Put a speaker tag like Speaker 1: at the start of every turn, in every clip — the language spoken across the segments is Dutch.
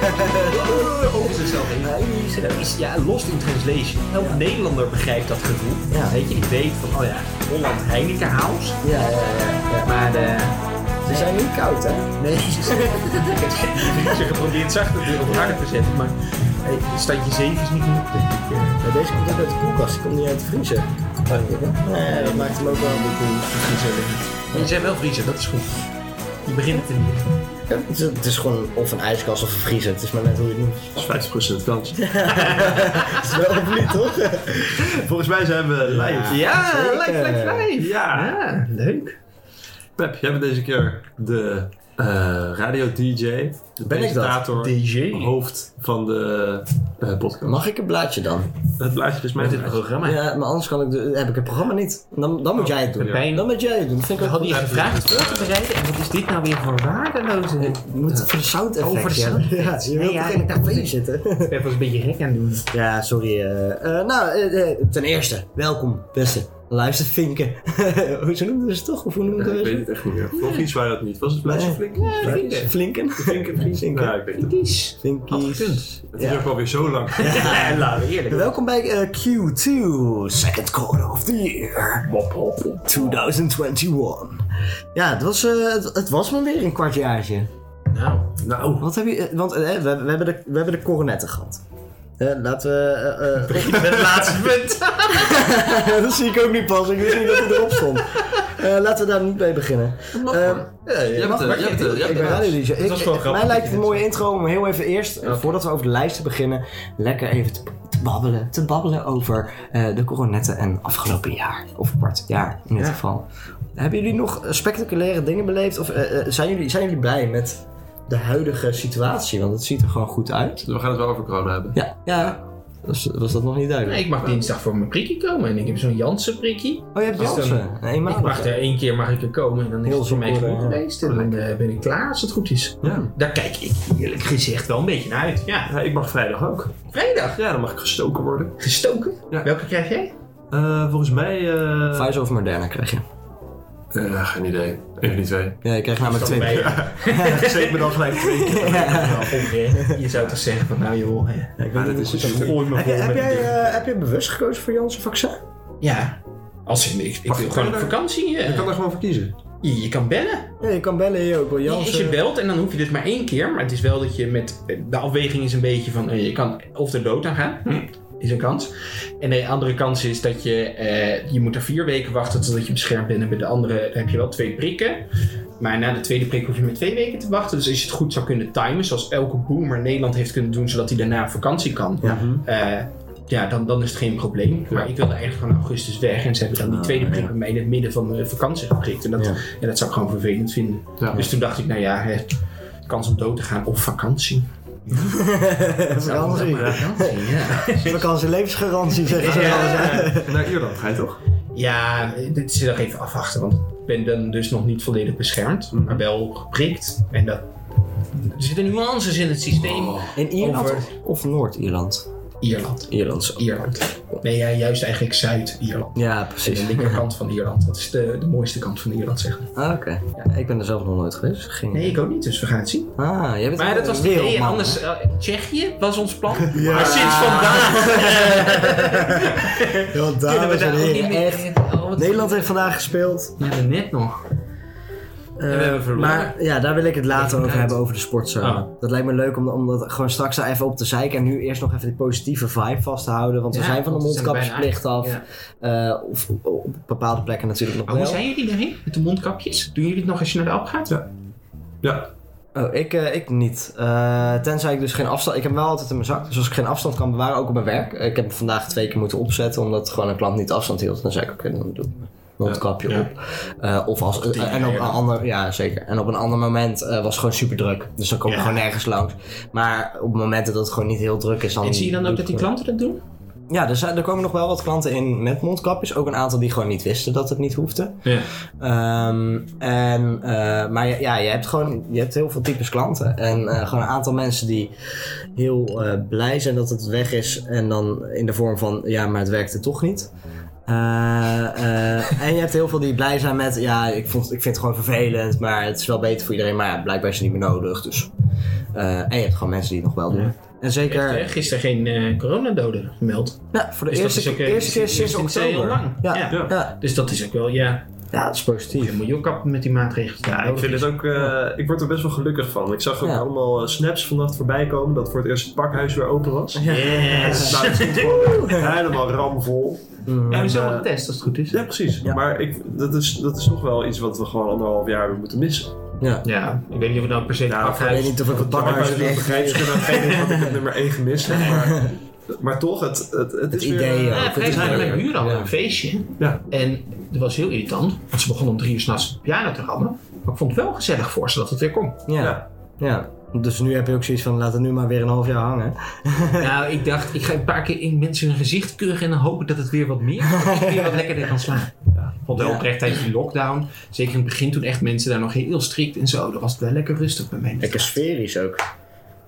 Speaker 1: Over zichzelf heen.
Speaker 2: Nee, niet serieus.
Speaker 1: Is, ja, lost in translation. Elke
Speaker 2: Ja.
Speaker 1: Nederlander begrijpt dat gevoel.
Speaker 2: Ja.
Speaker 1: Weet je, die weet van, oh ja, Holland Heineken House.
Speaker 2: Ja, ja, ja. ja.
Speaker 1: Maar eh, de...
Speaker 2: Ze zijn niet koud, hè? Nee.
Speaker 1: Ik heb ze geprobeerd zachter te, of harder te zetten, maar hey, standje 7 is niet genoeg, denk ik. eh.
Speaker 2: Maar deze komt ook uit de koelkast, die komt niet uit de vriezer. Oh, Nee, dat maakt hem ook wel een beetje...
Speaker 1: Maar die zijn wel vriezen, dat is goed. Je begint het in ieder geval.
Speaker 2: Ja, het, is, het is gewoon of een ijskast of een vriezer, het is maar net hoe je het noemt.
Speaker 3: Dat is 50% kans.
Speaker 2: Het is wel of niet, toch?
Speaker 3: Volgens mij zijn we live.
Speaker 1: Ja,
Speaker 2: zeker.
Speaker 1: lijkt lijkt vijf.
Speaker 3: Ja.
Speaker 1: Ja, leuk.
Speaker 3: Pep, jij bent deze keer de eh, radio-dj, de presentator,
Speaker 1: DJ.
Speaker 3: hoofd van de eh, podcast.
Speaker 2: Mag ik een blaadje dan?
Speaker 3: Het blaadje is mijn
Speaker 1: Met dit
Speaker 3: blaadje.
Speaker 1: programma.
Speaker 2: Ja, maar anders kan ik de, heb ik het programma niet. Dan,
Speaker 1: Oh,
Speaker 2: dan moet jij het doen.
Speaker 1: Pepijn.
Speaker 2: Dan moet jij het doen. Dat vind ik ook
Speaker 1: Had je gevraagd terug te bereiden? En wat is dit nou weer voor waardeloze...
Speaker 2: Je moet voor de sound effect.
Speaker 1: Oh, voor de sound
Speaker 2: Ja, ja je wilt
Speaker 1: Nee, ja,
Speaker 2: toch in
Speaker 1: ik
Speaker 2: de
Speaker 1: dacht
Speaker 2: café
Speaker 1: niet.
Speaker 2: zitten.
Speaker 1: Ik was een beetje gek aan het doen.
Speaker 2: Ja, sorry. eh, eh, nou, eh, eh, ten eerste, welkom, beste luistervinken. Hoe zo noemden ze het toch? Of hoe noemden
Speaker 3: Ja, ik weet
Speaker 2: ze
Speaker 3: het echt niet meer. Volgens iets waren dat niet. Was het blaadje
Speaker 2: Nee.
Speaker 3: flink?
Speaker 2: het? Flinken? Flinken,
Speaker 3: Nou, ik weet het.
Speaker 1: Kies. Had
Speaker 2: Flinkies.
Speaker 1: gekund.
Speaker 3: Het is
Speaker 2: Ja.
Speaker 3: ook alweer zo lang.
Speaker 1: Ja, laten we eerlijk.
Speaker 2: Welkom bij eh, Q2, second quarter of the year, 2021. Ja, het was, eh, het, het was maar weer een kwartjaartje.
Speaker 1: Nou,
Speaker 3: Nou,
Speaker 2: Wat heb je, eh, want eh, we, we, hebben de, we hebben de coronetten gehad. Eh, laten we... eh, eh,
Speaker 1: met het laatste punt.
Speaker 2: dat zie ik ook niet pas, ik wist niet dat het erop stond. Eh, laten we daar niet mee beginnen. Ehm,
Speaker 3: jij
Speaker 1: eh,
Speaker 3: bent de- jij bent de- jij
Speaker 2: Ik
Speaker 3: bent
Speaker 2: ben
Speaker 3: de-
Speaker 2: radio DJ.
Speaker 1: Dat was wel
Speaker 2: Ik-
Speaker 1: grappig.
Speaker 2: Mij lijkt het een mooie intro om heel even eerst, eh, voordat we over de lijsten beginnen, lekker even te, te babbelen. Te babbelen over eh, de coronetten en afgelopen jaar. Of kwart jaar in dit
Speaker 1: Ja.
Speaker 2: geval. Hebben jullie nog eh, spectaculaire dingen beleefd? Of eh, eh, zijn, jullie, zijn jullie blij met de huidige situatie? Want het ziet er gewoon goed uit.
Speaker 3: we gaan het wel over corona hebben.
Speaker 2: Ja, ja. Was, was dat nog niet duidelijk?
Speaker 1: Nee, ik mag dinsdag voor mijn prikkie komen en ik heb zo'n Janssen prikkie.
Speaker 2: Oh, je hebt
Speaker 1: Als
Speaker 2: Janssen.
Speaker 1: dan-
Speaker 2: Een
Speaker 1: Ik mag er één keer mag ik er komen en dan is
Speaker 2: Heel
Speaker 1: het voor mij
Speaker 2: zoek,
Speaker 1: goed
Speaker 2: eh,
Speaker 1: geweest. En dan eh, ben ik klaar als het goed is.
Speaker 3: Ja.
Speaker 1: Daar kijk ik eerlijk gezegd wel een beetje naar uit. Ja,
Speaker 3: Ja, ik mag vrijdag ook.
Speaker 1: vrijdag.
Speaker 3: Ja, dan mag ik gestoken worden.
Speaker 1: Gestoken.
Speaker 3: Ja.
Speaker 1: Welke krijg jij?
Speaker 3: Eh, volgens mij... eh
Speaker 2: Pfizer of Moderna krijg je.
Speaker 3: eh, geen idee. Eén van die twee.
Speaker 2: Ja, je krijgt namelijk
Speaker 1: Van
Speaker 2: twee.
Speaker 1: mij.
Speaker 3: Zeker me dan gelijk twee keer.
Speaker 1: Nou, ongeveer. Je zou toch zeggen van nou joh. eh,
Speaker 2: ik
Speaker 3: Maar dat is dus een
Speaker 1: Gooi me
Speaker 2: Heb, je,
Speaker 1: vol met
Speaker 2: heb,
Speaker 1: die
Speaker 2: jij,
Speaker 1: dingen.
Speaker 2: eh, heb je bewust gekozen voor Janssen vaccin?
Speaker 1: Ja. Als in, ik, ik
Speaker 3: Mag
Speaker 1: wil
Speaker 3: ik
Speaker 1: gewoon op
Speaker 3: verder?
Speaker 1: vakantie. eh.
Speaker 3: Ik kan er gewoon voor kiezen.
Speaker 1: je, je kan bellen.
Speaker 2: Ja, je kan bellen hier ook wel
Speaker 1: Als je belt en dan hoef je dit maar één keer. Maar het is wel dat je met... De afweging is een beetje van... eh, Je kan of er dood aan gaan. hm, Is een kans. En de andere kans is dat je... eh, je moet er vier weken wachten totdat je beschermd bent. En bij de andere heb je wel twee prikken. Maar na de tweede prik hoef je maar twee weken te wachten. Dus als je het goed zou kunnen timen... Zoals elke boomer Nederland heeft kunnen doen... Zodat hij daarna op vakantie kan.
Speaker 2: Ja.
Speaker 1: eh, ja, dan, dan is het geen probleem. Maar ik wilde eigenlijk gewoon augustus weg. En ze hebben dan die
Speaker 2: Ah,
Speaker 1: tweede prik
Speaker 2: ja.
Speaker 1: bij mij in het midden van de vakantie geprikt. En dat,
Speaker 2: Ja.
Speaker 1: en dat zou ik gewoon vervelend vinden.
Speaker 3: Ja.
Speaker 1: Dus toen dacht ik, nou ja, hè, kans om dood te gaan op vakantie.
Speaker 2: Vakantie.
Speaker 1: Vakantie, ja.
Speaker 2: Vakantie, levensgarantie zeggen ze wel eens, hè?
Speaker 3: Naar Ierland ga je toch?
Speaker 1: Ja, dit is nog even afwachten, want ik ben dan dus nog niet volledig beschermd, maar wel geprikt. En dat, er zitten nuances in het systeem.
Speaker 3: Oh.
Speaker 2: In Ierland
Speaker 1: Over-
Speaker 2: of- of Noord-Ierland?
Speaker 1: Ierland,
Speaker 2: Ierland zo.
Speaker 1: Ierland. Nee, ja, juist eigenlijk Zuid-Ierland.
Speaker 2: Ja,
Speaker 1: De
Speaker 2: precies.
Speaker 1: linkerkant van Ierland, dat is de, de mooiste kant van Ierland, zeg maar.
Speaker 2: Ah, Oké. Ja, ik ben er zelf nog nooit geweest. Geen...
Speaker 1: Nee, ik ook niet, dus we gaan het zien.
Speaker 2: Ah, jij bent
Speaker 1: Maar dat
Speaker 2: een
Speaker 1: was het
Speaker 2: wereldman,
Speaker 1: idee,
Speaker 2: hè?
Speaker 1: anders... eh, Tsjechië was ons plan, maar sinds vandaag
Speaker 2: Ja, want daar
Speaker 1: kunnen we
Speaker 2: was
Speaker 1: daar
Speaker 2: het
Speaker 1: ook
Speaker 2: weer
Speaker 1: niet meer...
Speaker 2: echt.
Speaker 1: Oh, wat- Oh,
Speaker 2: Nederland heeft vandaag gespeeld.
Speaker 1: Ja, net nog.
Speaker 2: eh,
Speaker 1: hebben verloren.
Speaker 2: maar ja, daar wil ik het later over
Speaker 1: uit. Ah.
Speaker 2: hebben, over de sportzomer. Dat lijkt me leuk om, om dat gewoon straks daar even op te zeiken. En nu eerst nog even die positieve vibe vast te houden. Want we
Speaker 1: Ja,
Speaker 2: zijn van de
Speaker 1: want we zijn er
Speaker 2: mondkapjesplicht
Speaker 1: bijna
Speaker 2: af.
Speaker 1: uit. Ja.
Speaker 2: Eh, of op, op bepaalde plekken natuurlijk nog
Speaker 1: Maar
Speaker 2: wel.
Speaker 1: hoe zijn jullie daarheen? Met de mondkapjes? Doen jullie het nog als je naar de Alp gaat?
Speaker 3: Ja.
Speaker 2: Oh, ik, eh, ik niet. Eh, tenzij ik dus geen afstand... Ik heb hem wel altijd in mijn zak. Dus als ik geen afstand kan bewaren, ook op mijn werk. eh, Ik heb hem vandaag twee keer moeten opzetten, omdat gewoon een klant niet afstand hield. Dan zei ik, oké, dan doe ik mijn mondkapje
Speaker 1: Ja.
Speaker 2: op. Eh, of als...
Speaker 1: Of tien
Speaker 2: eh, en op een
Speaker 1: keer dan.
Speaker 2: ander... Ja, zeker. En op een ander moment eh, was het gewoon super druk. Dus dan kom je
Speaker 1: Ja.
Speaker 2: gewoon nergens langs. Maar op momenten dat het gewoon niet heel druk is, dan...
Speaker 1: En zie je dan
Speaker 2: doe
Speaker 1: ook
Speaker 2: ik
Speaker 1: dat die
Speaker 2: gewoon-
Speaker 1: klanten dat doen?
Speaker 2: Ja, er, zijn, er komen nog wel wat klanten in met mondkapjes. Ook een aantal die gewoon niet wisten dat het niet hoefde.
Speaker 1: Ja.
Speaker 2: Ehm, en, eh, maar ja, ja, je hebt gewoon je hebt heel veel types klanten. En eh, gewoon een aantal mensen die heel eh, blij zijn dat het weg is. En dan in de vorm van, ja, maar het werkte toch niet. Eh, eh, en je hebt heel veel die blij zijn met, ja, ik, vond, ik vind het gewoon vervelend. Maar het is wel beter voor iedereen. Maar ja, blijkbaar is het niet meer nodig. Dus Eh, en je hebt gewoon mensen die het nog wel doen.
Speaker 1: Ja.
Speaker 2: En
Speaker 1: Echt,
Speaker 2: zeker
Speaker 1: hè? Gisteren geen eh, coronadoden gemeld.
Speaker 2: ja, voor de
Speaker 1: Dus dat
Speaker 2: eerste,
Speaker 1: is ook, eh,
Speaker 2: eerste keer
Speaker 1: is- is
Speaker 2: sinds
Speaker 1: in twee jaar
Speaker 2: oktober.
Speaker 1: lang.
Speaker 2: Ja,
Speaker 1: Ja.
Speaker 2: ja. Ja.
Speaker 1: Dus dat is ook wel, ja,
Speaker 2: dat is positief.
Speaker 1: je moet je ook kappen met die maatregelen.
Speaker 3: Ja, ik vind het ook. eh, ik word er best wel gelukkig van. Ik zag ook
Speaker 2: Ja.
Speaker 3: allemaal eh, snaps vannacht voorbij komen dat voor het eerst het pakhuis weer open was.
Speaker 1: Yes!
Speaker 3: Nou, het stond gewoon helemaal ramvol.
Speaker 2: Mm,
Speaker 1: Ja, we
Speaker 3: En,
Speaker 1: zijn wel
Speaker 3: eh,
Speaker 1: getest als het goed is.
Speaker 3: Ja, precies.
Speaker 2: Ja.
Speaker 3: Maar ik, dat, is, dat is toch wel iets wat we gewoon anderhalf jaar hebben moeten missen.
Speaker 2: Ja.
Speaker 1: Ja, ik weet niet of het nou per se het
Speaker 3: Ja,
Speaker 2: Ik
Speaker 1: pakhuis-
Speaker 2: weet niet of ik het
Speaker 3: Maar
Speaker 2: pakhuis
Speaker 3: ik
Speaker 2: heb
Speaker 3: begrijp ze kunnen geen idee wat ik op nummer 1 gemist heb. Maar, maar toch, het, het, het, is
Speaker 2: idee,
Speaker 3: weer...
Speaker 2: ja.
Speaker 1: Ja,
Speaker 2: het
Speaker 1: vrijdag
Speaker 2: is
Speaker 1: hadden
Speaker 2: leuk.
Speaker 1: mijn buren hadden
Speaker 2: Ja.
Speaker 1: een feestje.
Speaker 3: Ja.
Speaker 1: En dat was heel irritant, want ze begonnen om drie uur s'nachts piano te rammen. Maar ik vond het wel gezellig voor ze dat het weer kon.
Speaker 2: Ja. ja. Dus nu heb je ook zoiets van, laat het nu maar weer een half jaar hangen.
Speaker 1: nou, ik dacht, ik ga een paar keer in mensen hun gezicht keuren en dan hoop ik dat het weer wat meer, dat ik weer wat lekkerder kan slaan. Ik vond wel
Speaker 2: Ja.
Speaker 1: oprecht tijdens die lockdown, zeker in het begin toen echt mensen daar nog heel strikt en zo, dan was het wel lekker rustig bij mij.
Speaker 2: sferisch ook.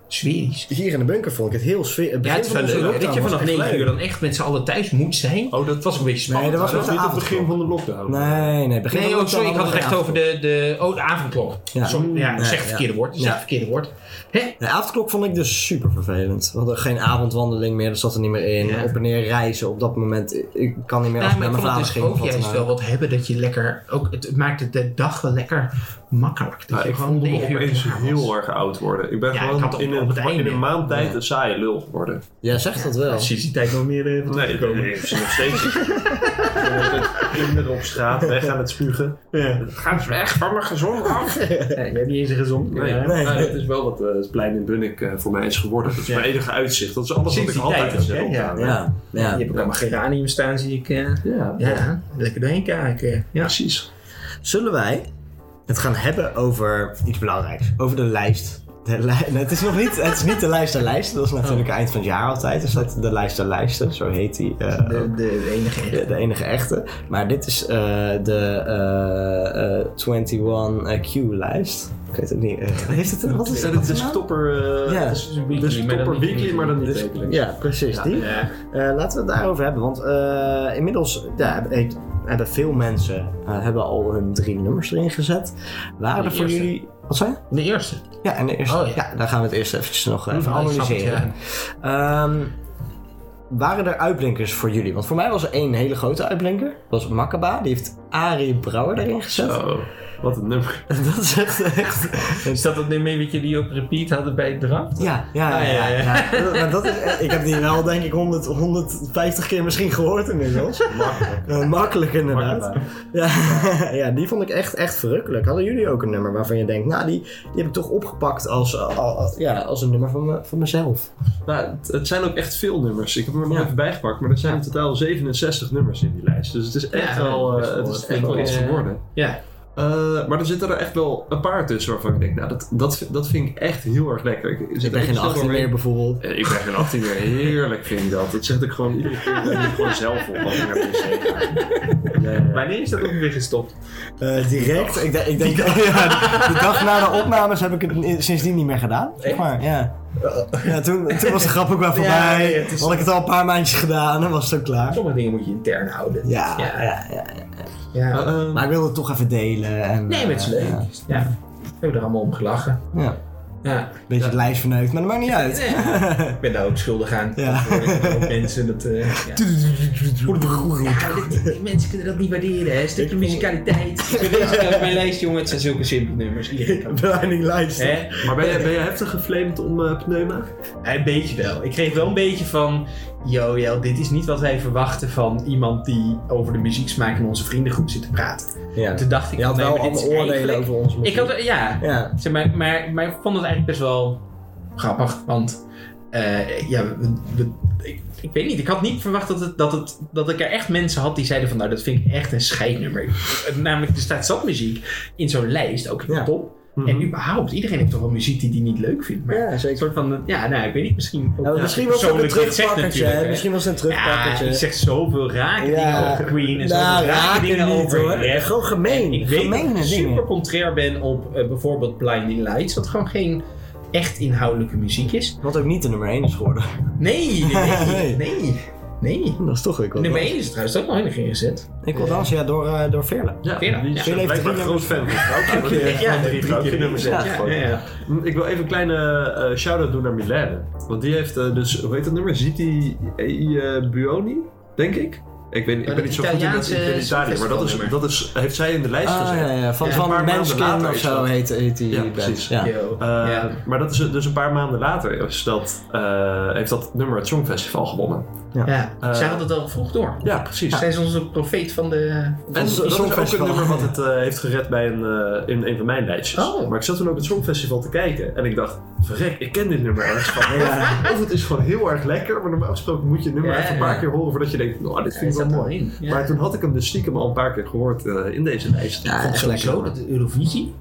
Speaker 1: Sferisch.
Speaker 2: Hier in de bunker vond ik het heel sferisch.
Speaker 1: Ja, het is wel leuk. Dat je vanaf negen uur dan echt met z'n allen thuis moet zijn.
Speaker 3: Oh, dat
Speaker 1: Het was een beetje
Speaker 2: Nee,
Speaker 1: spannend.
Speaker 2: dat was
Speaker 3: was
Speaker 2: wel
Speaker 3: niet
Speaker 2: de
Speaker 3: het begin
Speaker 2: avondklok.
Speaker 3: van de lockdown.
Speaker 2: Nee, nee. Begin
Speaker 1: Nee,
Speaker 2: van
Speaker 1: oh, sorry, ik had het
Speaker 2: oktober
Speaker 1: echt over de, de, oh, de avondklok.
Speaker 2: Ja.
Speaker 1: Sorry, ja,
Speaker 2: Nee,
Speaker 1: zeg
Speaker 2: ja.
Speaker 1: het verkeerde woord. Zeg
Speaker 2: Ja.
Speaker 1: het verkeerde woord. Hè?
Speaker 2: De avondklok vond ik dus super vervelend. We hadden geen avondwandeling meer, dat zat er niet meer in.
Speaker 1: Ja.
Speaker 2: Op en neer reizen op dat moment. Ik- Ik kan niet meer
Speaker 1: Ja,
Speaker 2: als ik
Speaker 1: maar
Speaker 2: naar
Speaker 1: ik vond
Speaker 2: mijn
Speaker 1: het
Speaker 2: vader
Speaker 1: dus
Speaker 2: ging.
Speaker 1: ook
Speaker 2: of wat dan
Speaker 1: juist
Speaker 2: ook.
Speaker 1: wel wat hebben dat je lekker... Ook, het, het maakte de dag wel lekker makkelijk. Dat
Speaker 3: Ja,
Speaker 1: je
Speaker 3: ik
Speaker 1: gewoon
Speaker 3: voelde me
Speaker 1: negen uur
Speaker 3: opeens
Speaker 1: klaar was.
Speaker 3: heel erg oud worden. Ik ben
Speaker 1: Ja, ik had
Speaker 3: gewoon
Speaker 1: op-
Speaker 3: in
Speaker 1: op het
Speaker 3: een, in
Speaker 1: einde.
Speaker 3: een maand tijd
Speaker 2: Ja.
Speaker 3: een saaie lul geworden.
Speaker 2: Jij zegt dat wel.
Speaker 1: Precies, die tijd nog meer eh, wat
Speaker 3: Nee,
Speaker 1: teruggekomen.
Speaker 3: nee, ze nog steeds. Ik ben met Kinderen op straat weg aan het spugen.
Speaker 1: Ja.
Speaker 3: Ga eens weg van mijn gezond af.
Speaker 1: Ja, ik heb niet eens een gezond.
Speaker 3: Nee,
Speaker 1: Ja.
Speaker 2: Nee.
Speaker 3: maar dat is wel wat eh, het plein in Bunnik eh, voor mij is geworden. Dat is
Speaker 1: Ja.
Speaker 3: mijn enige uitzicht. Dat is alles
Speaker 1: Sinds
Speaker 3: wat ik
Speaker 1: die
Speaker 3: altijd
Speaker 1: tijd ook,
Speaker 3: heb
Speaker 1: hè? Ja.
Speaker 3: gedaan.
Speaker 2: Ja, ja.
Speaker 1: Je hebt ook allemaal geranium staan, zie ik. eh.
Speaker 3: Ja.
Speaker 1: ja, lekker doorheen kijken. Ja.
Speaker 3: precies.
Speaker 2: Zullen wij het gaan hebben over iets belangrijks? Over de lijst. De lij- Nee, het, is nog niet, het is niet de lijst der lijsten. Dat is natuurlijk eind van het jaar altijd. Is dat de lijst der lijsten? Zo heet die. eh,
Speaker 1: De, de enige
Speaker 2: de, de enige echte. Maar dit is eh, de eh, eh, 21Q-lijst. Ik weet het niet. eh, heeft het een, wat is
Speaker 3: Ja,
Speaker 2: dat?
Speaker 3: dit
Speaker 2: voor
Speaker 3: is
Speaker 2: naam?
Speaker 3: topper. eh,
Speaker 2: Ja.
Speaker 3: het is- dit is topper weekly, maar dan niet wekelijks.
Speaker 2: Ja, precies. die.
Speaker 1: Ja.
Speaker 2: Eh, laten we het daarover hebben. Want eh, inmiddels ja, heb- heeft- hebben veel mensen eh, hebben al hun drie nummers erin gezet. Waren
Speaker 1: De
Speaker 2: er voor
Speaker 1: eerste.
Speaker 2: jullie. Wat zei je?
Speaker 1: De eerste.
Speaker 2: Ja, en de eerste.
Speaker 1: Oh,
Speaker 2: ja.
Speaker 1: ja.
Speaker 2: daar gaan we het eerst eventjes nog eh, even
Speaker 1: Ja, ik snap het,
Speaker 2: analyseren. Ehm, waren er uitblinkers voor jullie? Want voor mij was er één hele grote uitblinker. Dat was Makkaba. Die heeft Arie Brouwer erin gezet.
Speaker 3: Zo, Oh, wat een nummer.
Speaker 2: Dat is echt... echt
Speaker 1: Is dat dat nummer wat jullie op repeat hadden bij het draft?
Speaker 2: ja, ja,
Speaker 1: Ah, ja,
Speaker 2: ja. ja, Dat- maar dat is, eh, ik heb die wel denk ik 100, 150 keer misschien gehoord inmiddels.
Speaker 3: Makkelijk.
Speaker 2: Eh, makkelijk inderdaad.
Speaker 3: Makkelijk.
Speaker 2: Ja, ja, die vond ik echt, echt verrukkelijk. Hadden jullie ook een nummer waarvan je denkt... Nou, die, die heb ik toch opgepakt als, eh, al- al- ja, als een nummer van, me- van mezelf.
Speaker 3: Nou, het, het zijn ook echt veel nummers. Ik heb hem er nog
Speaker 2: Ja.
Speaker 3: even bijgepakt, maar er zijn in totaal 67 nummers in die lijst. Dus het is echt
Speaker 1: Ja,
Speaker 3: wel, eh,
Speaker 1: best wel-
Speaker 3: het is
Speaker 1: best
Speaker 3: echt wel
Speaker 1: wel,
Speaker 3: iets
Speaker 1: eh,
Speaker 3: geworden.
Speaker 1: Ja.
Speaker 3: Eh, maar er zitten er echt wel een paar tussen waarvan ik denk, nou, dat, dat, dat vind ik echt heel erg lekker. Ik, zit
Speaker 2: Ik ben
Speaker 3: er
Speaker 2: geen
Speaker 3: echt
Speaker 2: 18
Speaker 3: doorheen.
Speaker 2: meer bijvoorbeeld.
Speaker 3: Eh, Ik ben geen 18 meer. Heerlijk vind ik dat. Dat zet ik gewoon iedere keer dat ik gewoon zelf op als ik naar de wc ga.
Speaker 1: Wanneer is dat ook weer gestopt?
Speaker 2: Eh, direct. Ik, denk- ik denk, oh ja, de dag na de opnames heb ik het in- sindsdien niet meer gedaan. Zeg maar, ja. ja toen, toen was de grap ook wel
Speaker 1: Oh. Ja,
Speaker 2: voorbij.
Speaker 1: nee, het is-
Speaker 2: Had ik het al een paar maandjes gedaan en was het ook klaar.
Speaker 1: Sommige dingen moet je intern houden.
Speaker 2: Ja, ja.
Speaker 1: Ja.
Speaker 2: Ja,
Speaker 1: Ja.
Speaker 3: Eh, eh,
Speaker 2: Maar ik wilde het toch even delen. En,
Speaker 1: Nee, met z'n
Speaker 2: eh,
Speaker 1: leuk.
Speaker 2: Ja,
Speaker 1: Ja. We hebben er allemaal om gelachen.
Speaker 2: ja.
Speaker 1: Ja.
Speaker 2: Beetje het lijst verneukt, maar dat maakt niet uit.
Speaker 1: Nee, ik ben daar ook schuldig aan.
Speaker 2: Ja.
Speaker 1: Dat hoor ik ook mensen. Dat, eh, ja. Ja, dit- dit- mensen kunnen dat niet waarderen, hè? Een stukje musicaliteit. Zo lees ik op mijn lijst, jongen, het zijn zulke simpele nummers. Iedereen kan.
Speaker 2: Blinding lights.
Speaker 1: Hè?
Speaker 3: maar ben jij, ben jij heftig geflamed om eh, pneuma?
Speaker 1: Ja, Een beetje wel. Ik kreeg wel een beetje van. Yo, Jel, dit is niet wat wij verwachten van iemand die over de muzieksmaak in onze vriendengroep zit te praten.
Speaker 2: Ja.
Speaker 1: Toen dacht ik,
Speaker 2: Je had
Speaker 1: nee,
Speaker 2: wel
Speaker 1: maar dit
Speaker 2: allemaal
Speaker 1: is
Speaker 2: oordelen
Speaker 1: eigenlijk-
Speaker 2: over ons.
Speaker 1: Ik had, er- ja,
Speaker 2: Ja.
Speaker 1: Zeg maar, maar, maar ik vond het eigenlijk best wel grappig. Want eh, ja, we- we- ik, ik weet niet. Ik had niet verwacht dat, het, dat, het, dat ik er echt mensen had die zeiden van... Nou, dat vind ik echt een scheidnummer. Namelijk, er staat zat muziek in zo'n lijst, ook in de
Speaker 2: Ja. Mhm.
Speaker 1: top. En überhaupt, iedereen heeft toch wel muziek die die niet leuk vindt. Maar
Speaker 2: Ja, zeker.
Speaker 1: een soort van, ja, nou, ik weet niet, misschien... ook-
Speaker 2: Nou,
Speaker 1: ja,
Speaker 2: misschien was het een
Speaker 1: persoonlijk, dit zegt
Speaker 2: terugpakkertje.
Speaker 1: natuurlijk,
Speaker 2: hè.
Speaker 1: hè.
Speaker 2: Misschien was het een
Speaker 1: Ja,
Speaker 2: terugpakkertje.
Speaker 1: je zegt zoveel rake dingen over Queen en
Speaker 2: nou,
Speaker 1: zoveel rake
Speaker 2: raken
Speaker 1: dingen
Speaker 2: niet,
Speaker 1: over
Speaker 2: hoor.
Speaker 1: Ref.
Speaker 2: Gewoon gemeen.
Speaker 1: Ik weet dat
Speaker 2: Gemeene
Speaker 1: ik super
Speaker 2: dingen.
Speaker 1: contrair ben op eh, bijvoorbeeld Blinding Lights, wat gewoon geen echt inhoudelijke muziek is.
Speaker 2: Wat ook niet de nummer 1 is geworden.
Speaker 1: Nee, nee, nee.
Speaker 2: Nee.
Speaker 1: nee. Nee.
Speaker 2: Dat is toch weer
Speaker 1: Nummer
Speaker 2: Ik
Speaker 1: 1 is trouwens ook nog in de ging gezet.
Speaker 2: wil dansen, ja, door, eh, door Veerle.
Speaker 3: Ja,
Speaker 1: Veerle.
Speaker 3: die is
Speaker 2: Veerle heeft
Speaker 3: blijkbaar
Speaker 2: drie
Speaker 3: groot fan van vrouwtje. want die heeft
Speaker 1: Ja,
Speaker 3: gewoon
Speaker 1: drie
Speaker 3: drie
Speaker 1: keer
Speaker 3: vrouwtje
Speaker 1: nummer
Speaker 3: nummer zes
Speaker 1: zes.
Speaker 3: geworden.
Speaker 1: Ja, ja.
Speaker 3: Hm, Ik wil even een kleine eh shout-out doen naar Milène. Want die heeft eh, dus, hoe heet dat nummer? Ziti eh Buoni, denk ik? Ik, weet, niet- ik
Speaker 1: Oh, dat
Speaker 3: ben niet zo goed in dat
Speaker 1: Italiaanse
Speaker 3: in Italië, maar dat, is,
Speaker 1: songfestivalnummer.
Speaker 3: dat is, heeft zij in de lijst
Speaker 2: Ah,
Speaker 3: gezet.
Speaker 2: ja, ja. Van,
Speaker 1: Ja,
Speaker 3: dus een paar
Speaker 2: van
Speaker 3: maanden
Speaker 2: Manskin
Speaker 3: later
Speaker 2: of
Speaker 3: is
Speaker 2: zo
Speaker 3: dat.
Speaker 2: heet, heet die
Speaker 3: Ja,
Speaker 2: band.
Speaker 3: precies.
Speaker 2: Ja.
Speaker 1: Yo.
Speaker 3: Eh,
Speaker 1: ja.
Speaker 3: Maar dat is dus een paar maanden later is dat, eh, heeft dat nummer het Songfestival gewonnen.
Speaker 1: Ja.
Speaker 3: eh,
Speaker 1: Zij had het al vroeg door.
Speaker 3: Ja, precies.
Speaker 1: Zij is onze profeet van de...
Speaker 3: En
Speaker 2: Het
Speaker 3: dat is ook een
Speaker 2: Songfestival.
Speaker 3: nummer wat het eh, heeft gered bij een, eh, in een van mijn lijstjes.
Speaker 1: Oh.
Speaker 3: Maar ik zat toen ook het Songfestival te kijken en ik dacht, verrek, ik ken dit nummer ergens van. Of het is gewoon heel erg lekker, maar normaal gesproken moet je het nummer
Speaker 1: Ja,
Speaker 3: even een paar
Speaker 1: ja.
Speaker 3: keer horen voordat je denkt, nou, dit
Speaker 1: Hij
Speaker 3: vind ik
Speaker 1: zat
Speaker 3: wel
Speaker 1: er al
Speaker 3: mooi.
Speaker 1: in. Ja.
Speaker 3: Maar toen had ik hem dus stiekem al een paar keer gehoord eh, in deze lijst.
Speaker 2: Ja,
Speaker 1: Vond
Speaker 2: echt lekker.
Speaker 1: sowieso dat de Eurovisie.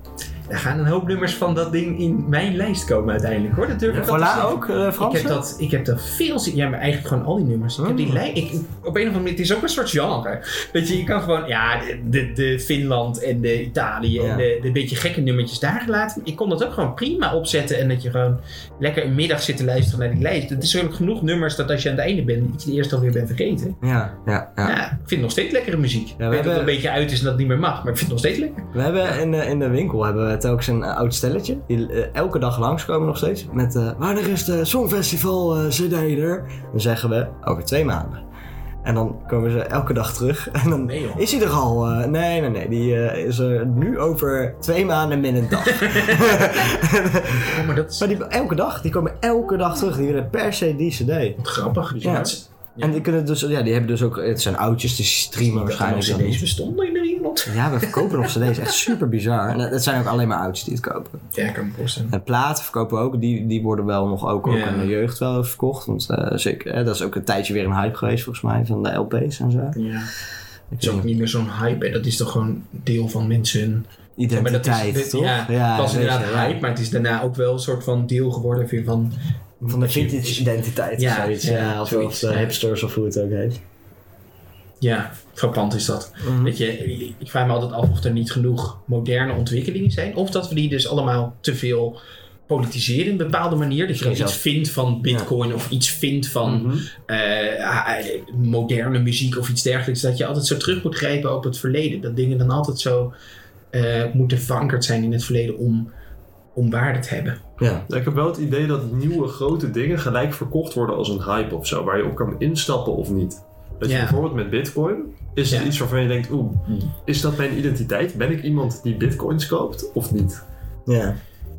Speaker 1: Daar gaan een hoop nummers van dat ding in mijn lijst komen uiteindelijk hoor. Dat durf ik wel te
Speaker 2: Voilà
Speaker 1: zeggen.
Speaker 2: ook, eh
Speaker 1: Ik
Speaker 2: Frans? Oh.
Speaker 1: heb, dat, ik heb dat veel zin. Ja, maar eigenlijk gewoon al die nummers. Ik heb die lij- ik, op een of andere manier. Het is ook een soort genre. Weet je, je kan gewoon. Ja, de, de, de Finland en de Italië.
Speaker 2: Ja.
Speaker 1: En de, de beetje gekke nummertjes daar laten. Ik kon dat ook gewoon prima opzetten. En dat je gewoon lekker een middag zit te luisteren naar die lijst. Het is ook genoeg nummers dat als je aan het einde bent. dat je de eerste alweer bent vergeten.
Speaker 2: Ja, ja, ja.
Speaker 1: Ja, ik vind het nog steeds lekkere muziek. ik weet dat
Speaker 2: hebben-
Speaker 1: het een beetje uit is en dat het niet meer mag. Maar ik vind het nog steeds lekker.
Speaker 2: We hebben in de, in de winkel hebben we telkens een eh, oud stelletje. Die eh, elke dag langskomen nog steeds. Met eh wanneer is de Songfestival eh, CD er? Dan zeggen we over twee maanden. En dan komen ze elke dag terug. En dan
Speaker 1: Nee, joh.
Speaker 2: is hij er al. eh, nee, nee, nee. Die eh, is er nu over twee maanden min een dag.
Speaker 1: Oh, maar dat is
Speaker 2: maar die, elke dag. Die komen elke dag terug. Die willen per se die CD.
Speaker 1: grappig. Dus
Speaker 2: Ja.
Speaker 1: ja.
Speaker 2: En die kunnen dus, ja, die hebben dus ook, het zijn oudjes, die streamen waarschijnlijk.
Speaker 1: Waarschijnlijk
Speaker 2: dan
Speaker 1: deze
Speaker 2: niet.
Speaker 1: bestonden in Nederland.
Speaker 2: Ja, we verkopen nog cd's, echt super bizar. En het zijn ook alleen maar oudjes die het kopen.
Speaker 1: Ja, ik kan me voorstellen.
Speaker 2: En platen verkopen we ook, die, die worden wel nog ook, ook
Speaker 1: Ja.
Speaker 2: aan de jeugd wel verkocht. Want eh, zeker, hè, dat is ook een tijdje weer een hype geweest volgens mij, van de LP's en zo.
Speaker 1: Ja.
Speaker 2: Ik
Speaker 1: Het is ook niet meer zo'n hype. hè. Dat is toch gewoon deel van mensen hun maar dat is-
Speaker 2: identiteit,
Speaker 1: dit-
Speaker 2: toch?
Speaker 1: Ja, het was
Speaker 2: weet je,
Speaker 1: inderdaad
Speaker 2: ja.
Speaker 1: hype, maar het is daarna ook wel een soort van deel geworden weer van...
Speaker 2: Van de vintage identiteit
Speaker 1: Ja,
Speaker 2: of zoiets.
Speaker 1: ja,
Speaker 2: Ja, of,
Speaker 1: zoiets,
Speaker 2: of de
Speaker 1: ja.
Speaker 2: hipsters of hoe het ook heet.
Speaker 1: Ja, frappant is dat.
Speaker 2: Mhm.
Speaker 1: Weet je, ik vraag me altijd af of er niet genoeg moderne ontwikkelingen zijn. Of dat we die dus allemaal te veel politiseren in een bepaalde manier. Dat je dan
Speaker 2: Sowieso.
Speaker 1: iets vindt van bitcoin of iets vindt van
Speaker 2: Mhm.
Speaker 3: Mhm.
Speaker 1: eh, ah, eh, moderne muziek of iets dergelijks. Dat je altijd zo terug moet grijpen op het verleden. Dat dingen dan altijd zo eh, moeten verankerd zijn in het verleden om, om waarde te hebben.
Speaker 2: Ja.
Speaker 3: Ik heb wel het idee dat nieuwe grote dingen gelijk verkocht worden als een hype of zo, waar je op kan instappen of niet. Dat je
Speaker 1: Ja.
Speaker 3: bijvoorbeeld met Bitcoin, is het
Speaker 1: Ja.
Speaker 3: iets waarvan je denkt, oeh,
Speaker 2: Hmm.
Speaker 3: is dat mijn identiteit? Ben ik iemand die Bitcoins koopt of niet?
Speaker 2: ja.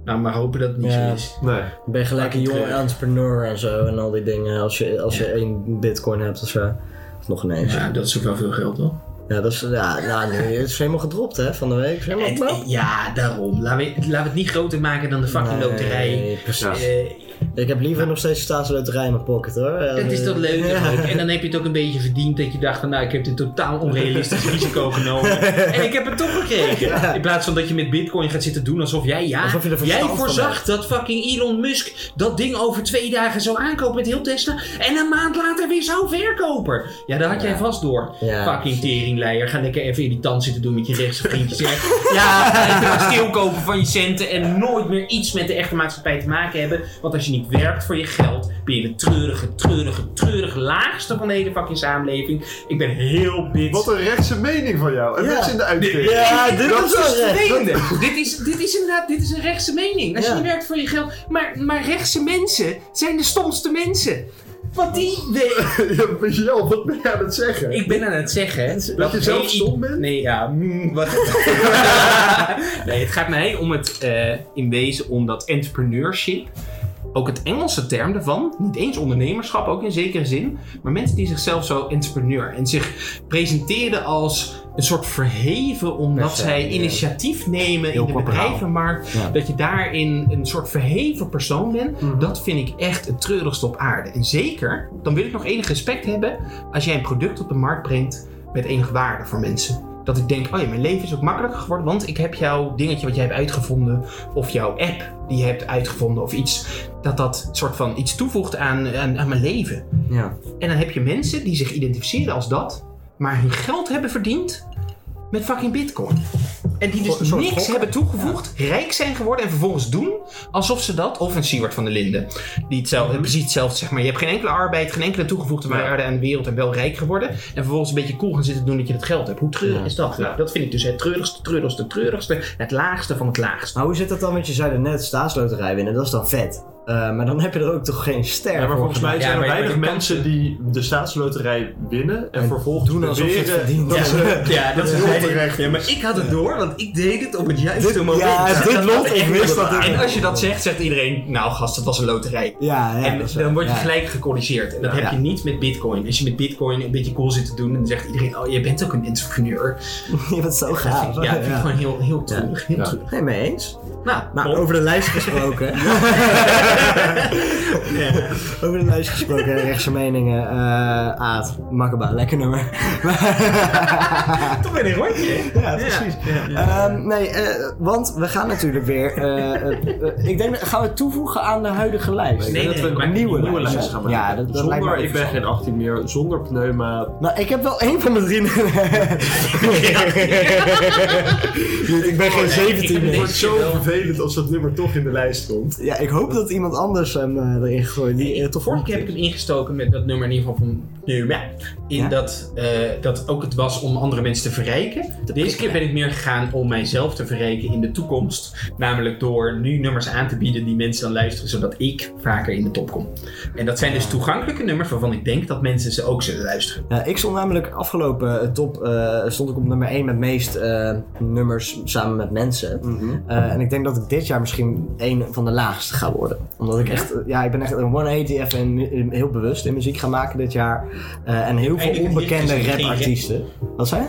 Speaker 1: Nou, maar hopen dat het niet
Speaker 2: Ja.
Speaker 1: zo is.
Speaker 3: Nee.
Speaker 2: Ik ben gelijk een jonge
Speaker 1: Treurig.
Speaker 2: entrepreneur en zo en al die dingen. Als je, als je
Speaker 1: Ja.
Speaker 2: één bitcoin hebt of zo. Of nog ineens. Ja,
Speaker 1: Ja, dat is ook wel veel geld, toch?
Speaker 2: dat is, ja, nou, nu, het is helemaal gedropt hè, van de week. Is helemaal
Speaker 1: Het- eh,
Speaker 2: knap.
Speaker 1: ja, daarom. Laten we, laten we het niet groter maken dan de fucking
Speaker 2: Nee,
Speaker 1: loterij.
Speaker 2: precies.
Speaker 1: Eh,
Speaker 2: Ik heb liever nog steeds de staatsloterij in mijn pocket hoor.
Speaker 1: het is toch leuk? toch ook? En dan heb je het ook een beetje verdiend dat je dacht van nou, ik heb dit totaal onrealistisch risico genomen. En ik heb het toch gekregen. In plaats van dat je met bitcoin gaat zitten doen alsof jij ja,
Speaker 2: Alsof je er verstand
Speaker 1: jij
Speaker 2: van
Speaker 1: voorzag dat fucking Elon Musk dat ding over twee dagen zou aankopen met heel Tesla. En een maand later weer zou verkopen. Ja, daar had jij vast door.
Speaker 2: Ja.
Speaker 1: Fucking teringleier. Ga lekker even irritant zitten doen met je rechtse vriendjes. hè. ja, even stil kopen van je centen en nooit meer iets met de echte maatschappij te maken hebben. Want als je niet werkt voor je geld, ben je de treurige, treurige, treurige laagste van de hele fucking samenleving. Ik ben heel bits.
Speaker 3: Wat een rechtse mening van jou. En
Speaker 2: Ja.
Speaker 3: dat is in de uitkering.
Speaker 2: Ja, dit
Speaker 1: Dat
Speaker 2: was
Speaker 1: is
Speaker 2: wel recht.
Speaker 1: vervelend. dit, is, dit is inderdaad dit is een rechtse mening. Als
Speaker 2: Ja.
Speaker 1: je niet werkt voor je geld. Maar, maar rechtse mensen zijn de stomste mensen. Want die. de-
Speaker 3: Ja, wat ben je aan het zeggen?
Speaker 1: ik ben aan het zeggen. Dat,
Speaker 3: je zelf
Speaker 1: heel-
Speaker 3: stom bent?
Speaker 1: Nee, ja. mm, wat, nee, het gaat mij om het eh, in wezen om dat entrepreneurship. Ook het Engelse term daarvan, niet eens ondernemerschap ook in zekere zin, maar mensen die zichzelf zo entrepreneur en zich presenteren als een soort verheven omdat
Speaker 2: Persoon,
Speaker 1: zij
Speaker 2: ja.
Speaker 1: initiatief nemen
Speaker 2: Heel
Speaker 1: in de
Speaker 2: corporaal.
Speaker 1: bedrijvenmarkt,
Speaker 2: Ja.
Speaker 1: dat je daarin een soort verheven persoon bent, dat vind ik echt het treurigste op aarde. En zeker, dan wil ik nog enig respect hebben als jij een product op de markt brengt met enige waarde voor mensen. Dat ik denk, oh ja, mijn leven is ook makkelijker geworden, want ik heb jouw dingetje wat jij hebt uitgevonden, of jouw app die je hebt uitgevonden, of iets, dat dat soort van iets toevoegt aan, aan, aan mijn leven.
Speaker 2: Ja.
Speaker 1: En dan heb je mensen die zich identificeren als dat, maar hun geld hebben verdiend met fucking bitcoin. En die
Speaker 2: Voor een
Speaker 1: dus
Speaker 2: soort
Speaker 1: niks
Speaker 2: gokken.
Speaker 1: hebben toegevoegd, rijk zijn geworden en vervolgens doen alsof ze dat, of een Siewert van der Linden, die hetzelfde,
Speaker 2: Mhm.
Speaker 1: precies hetzelfde zeg maar. Je hebt geen enkele arbeid, geen enkele toegevoegde waarde aan de wereld en wel rijk geworden. En vervolgens een beetje cool gaan zitten doen dat je dat geld hebt. Hoe treurig
Speaker 2: Ja.
Speaker 1: is dat?
Speaker 3: Ja.
Speaker 1: Dat vind ik dus het treurigste, treurigste, treurigste, het laagste van het laagste.
Speaker 2: Maar hoe zit dat dan? Want je zei er net staatsloterij winnen, dat is dan vet. Eh, maar dan heb je er ook toch geen ster
Speaker 3: Ja, maar
Speaker 2: voor
Speaker 3: volgens mij
Speaker 1: gemaakt.
Speaker 3: zijn
Speaker 1: Ja,
Speaker 3: er
Speaker 1: maar- maar
Speaker 3: weinig
Speaker 1: de
Speaker 3: mensen die de staatsloterij winnen en,
Speaker 2: En
Speaker 3: vervolgens
Speaker 2: doen alsof je het
Speaker 3: beweren-
Speaker 2: verdient.
Speaker 3: dat ze-
Speaker 1: Ja,
Speaker 3: dat is
Speaker 1: heel
Speaker 3: heel
Speaker 1: terecht. Ja, maar ik had het door, want ik deed het op het juiste
Speaker 2: Dit-
Speaker 1: moment.
Speaker 2: ja, dit lot, ik wist dat dit-
Speaker 1: En als je dat zegt, zegt iedereen, nou gast, dat was een loterij.
Speaker 2: Ja, ja.
Speaker 1: en
Speaker 2: dat is
Speaker 1: dan
Speaker 2: waar.
Speaker 1: word je
Speaker 2: Ja.
Speaker 1: gelijk gecorrigeerd. En dat
Speaker 2: Ja.
Speaker 1: heb je niet met bitcoin. Als je met bitcoin een beetje cool zit te doen, dan zegt iedereen, oh, je bent ook een entrepreneur.
Speaker 2: Je bent zo
Speaker 1: Dat vind
Speaker 2: gaaf.
Speaker 1: ik- ja, dat vind ik gewoon heel, heel treurig. Heel
Speaker 3: Ja.
Speaker 1: treurig.
Speaker 2: Nee, mee eens.
Speaker 1: Nou,
Speaker 2: Maar
Speaker 1: Bob,
Speaker 2: over de lijst gesproken. Over de lijst gesproken, rechtse meningen. eh Aad, Makkaba, lekker nummer.
Speaker 1: toch weer een rondje.
Speaker 2: ja, precies. Ehm, nee, eh, want we gaan natuurlijk weer. eh, eh, eh, ik denk, dat- gaan we het toevoegen aan de huidige lijst?
Speaker 1: Nee,
Speaker 3: dat
Speaker 1: nee,
Speaker 3: we
Speaker 1: maar-
Speaker 3: een nieuwe, nieuwe
Speaker 2: lijst.
Speaker 3: lijst gaan maken.
Speaker 2: Ja, dat- dat lijkt me
Speaker 3: zonder,
Speaker 2: ook
Speaker 3: ik ben geen 18 meer, zonder pneuma.
Speaker 2: Nou, ik heb wel één van de drie. ik ben geen
Speaker 1: Oh, nee, ik
Speaker 2: 17
Speaker 1: heb
Speaker 3: Het
Speaker 2: meer.
Speaker 3: wordt zo vervelend als dat nummer toch in de lijst komt.
Speaker 2: Ja, ik hoop dat iemand anders hem eh, erin gooit. Die, eh, toch
Speaker 1: Vorige keer heb ik hem ingestoken met dat nummer in ieder geval van nu, ja, in
Speaker 2: Ja?
Speaker 1: dat, eh, dat ook het was om andere mensen te verrijken. Deze keer ben ik meer gegaan om mijzelf te verrijken in de toekomst. Namelijk door nu nummers aan te bieden die mensen dan luisteren, zodat ik vaker in de top kom. En dat
Speaker 2: Ah.
Speaker 1: zijn dus toegankelijke nummers waarvan ik denk dat mensen ze ook zullen luisteren.
Speaker 2: Ja, ik stond namelijk afgelopen eh, top eh, stond ik op nummer 1 met meest eh, nummers samen met mensen.
Speaker 1: Mhm.
Speaker 2: Eh, en ik denk dat ik dit jaar misschien één van de laagste ga worden. Omdat ik echt, eh, ja, ik ben echt een 180 even in mu- in- eh, heel bewust in muziek gaan maken dit jaar. Eh, en heel veel
Speaker 1: Eigenlijk een
Speaker 2: onbekende
Speaker 1: lichtjes en dus geen
Speaker 2: rapartiesten. Wat zei je?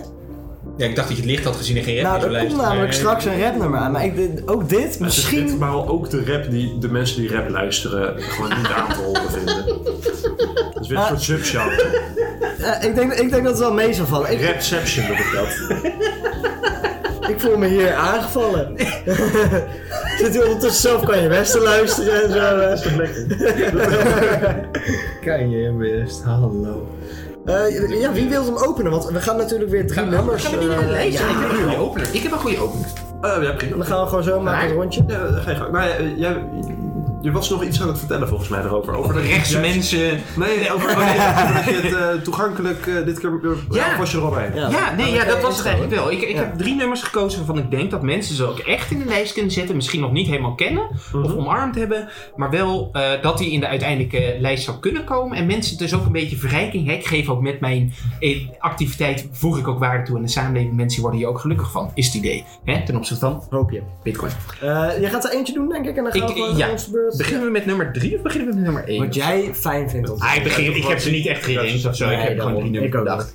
Speaker 1: Ja, ik dacht dat je het licht had gezien en geen rap
Speaker 2: Nou,
Speaker 1: meer zou
Speaker 2: er komt
Speaker 1: luisteren,
Speaker 2: namelijk
Speaker 1: maar-
Speaker 2: straks een rapnummer aan. Maar ik, dit- ook dit,
Speaker 3: Misschien.
Speaker 2: misschien...
Speaker 3: maar al ook de rap die de mensen die rap luisteren gewoon niet aan te horen vinden.
Speaker 1: Ah.
Speaker 3: Dat is weer een soort subgenre.
Speaker 2: eh, ik, denk, ik denk dat het wel mee zal vallen. Ik,
Speaker 3: Rapception noem ik dat.
Speaker 2: ik voel me hier aangevallen. Zit hier ondertussen zelf kan je westen luisteren en zo. eh.
Speaker 1: Kan je best, hallo.
Speaker 2: Eh, ja, wie wil hem openen? Want we gaan natuurlijk weer drie nummers.
Speaker 1: Gaan we die naar de
Speaker 2: eh,
Speaker 1: lijst?
Speaker 2: ja.
Speaker 1: Ik heb een goede opener. Ik heb een goede opener.
Speaker 3: Eh, ja, prima.
Speaker 2: Dan gaan we gewoon zo maken een
Speaker 1: Maar-
Speaker 2: rondje.
Speaker 3: Ja, ga je gang. Maar eh, jij, je was nog iets aan het vertellen volgens mij erover. Over dat-
Speaker 1: Rechtse
Speaker 3: juist-
Speaker 1: mensen.
Speaker 3: Nee, over over dat je het eh, toegankelijk eh, dit keer eh,
Speaker 1: Ja.
Speaker 3: of was je erop heen.
Speaker 2: Ja.
Speaker 1: Ja, nee, ja, dat
Speaker 2: Eh,
Speaker 1: was het eigenlijk wel. Ik, ik
Speaker 2: Ja.
Speaker 1: heb drie nummers gekozen waarvan ik denk dat mensen ze ook echt in de lijst kunnen zetten. Misschien nog niet helemaal kennen of omarmd hebben. Maar wel eh, dat die in de uiteindelijke lijst zou kunnen komen. En mensen dus ook een beetje verrijking. Hè? Ik geef ook met mijn eh, activiteit, voeg ik ook waarde toe aan de samenleving. Mensen worden hier ook gelukkig van, is het idee. Hè? Ten opzichte van
Speaker 2: Hoop je.
Speaker 1: bitcoin.
Speaker 2: Eh, jij gaat er eentje doen, denk ik, en dan gaan
Speaker 1: Ik-
Speaker 2: we gewoon
Speaker 1: eh, ja.
Speaker 2: aan onze beurt.
Speaker 1: Beginnen we met nummer drie of beginnen we met nummer één?
Speaker 2: Wat jij fijn vindt om te
Speaker 1: Ah, ik,
Speaker 2: doen.
Speaker 1: begin, ik heb ze niet echt geïnteresseerd of zo. Ik
Speaker 2: Nee,
Speaker 1: heb gewoon
Speaker 2: daarom.
Speaker 1: drie nummers
Speaker 2: Ik ook
Speaker 1: bedacht.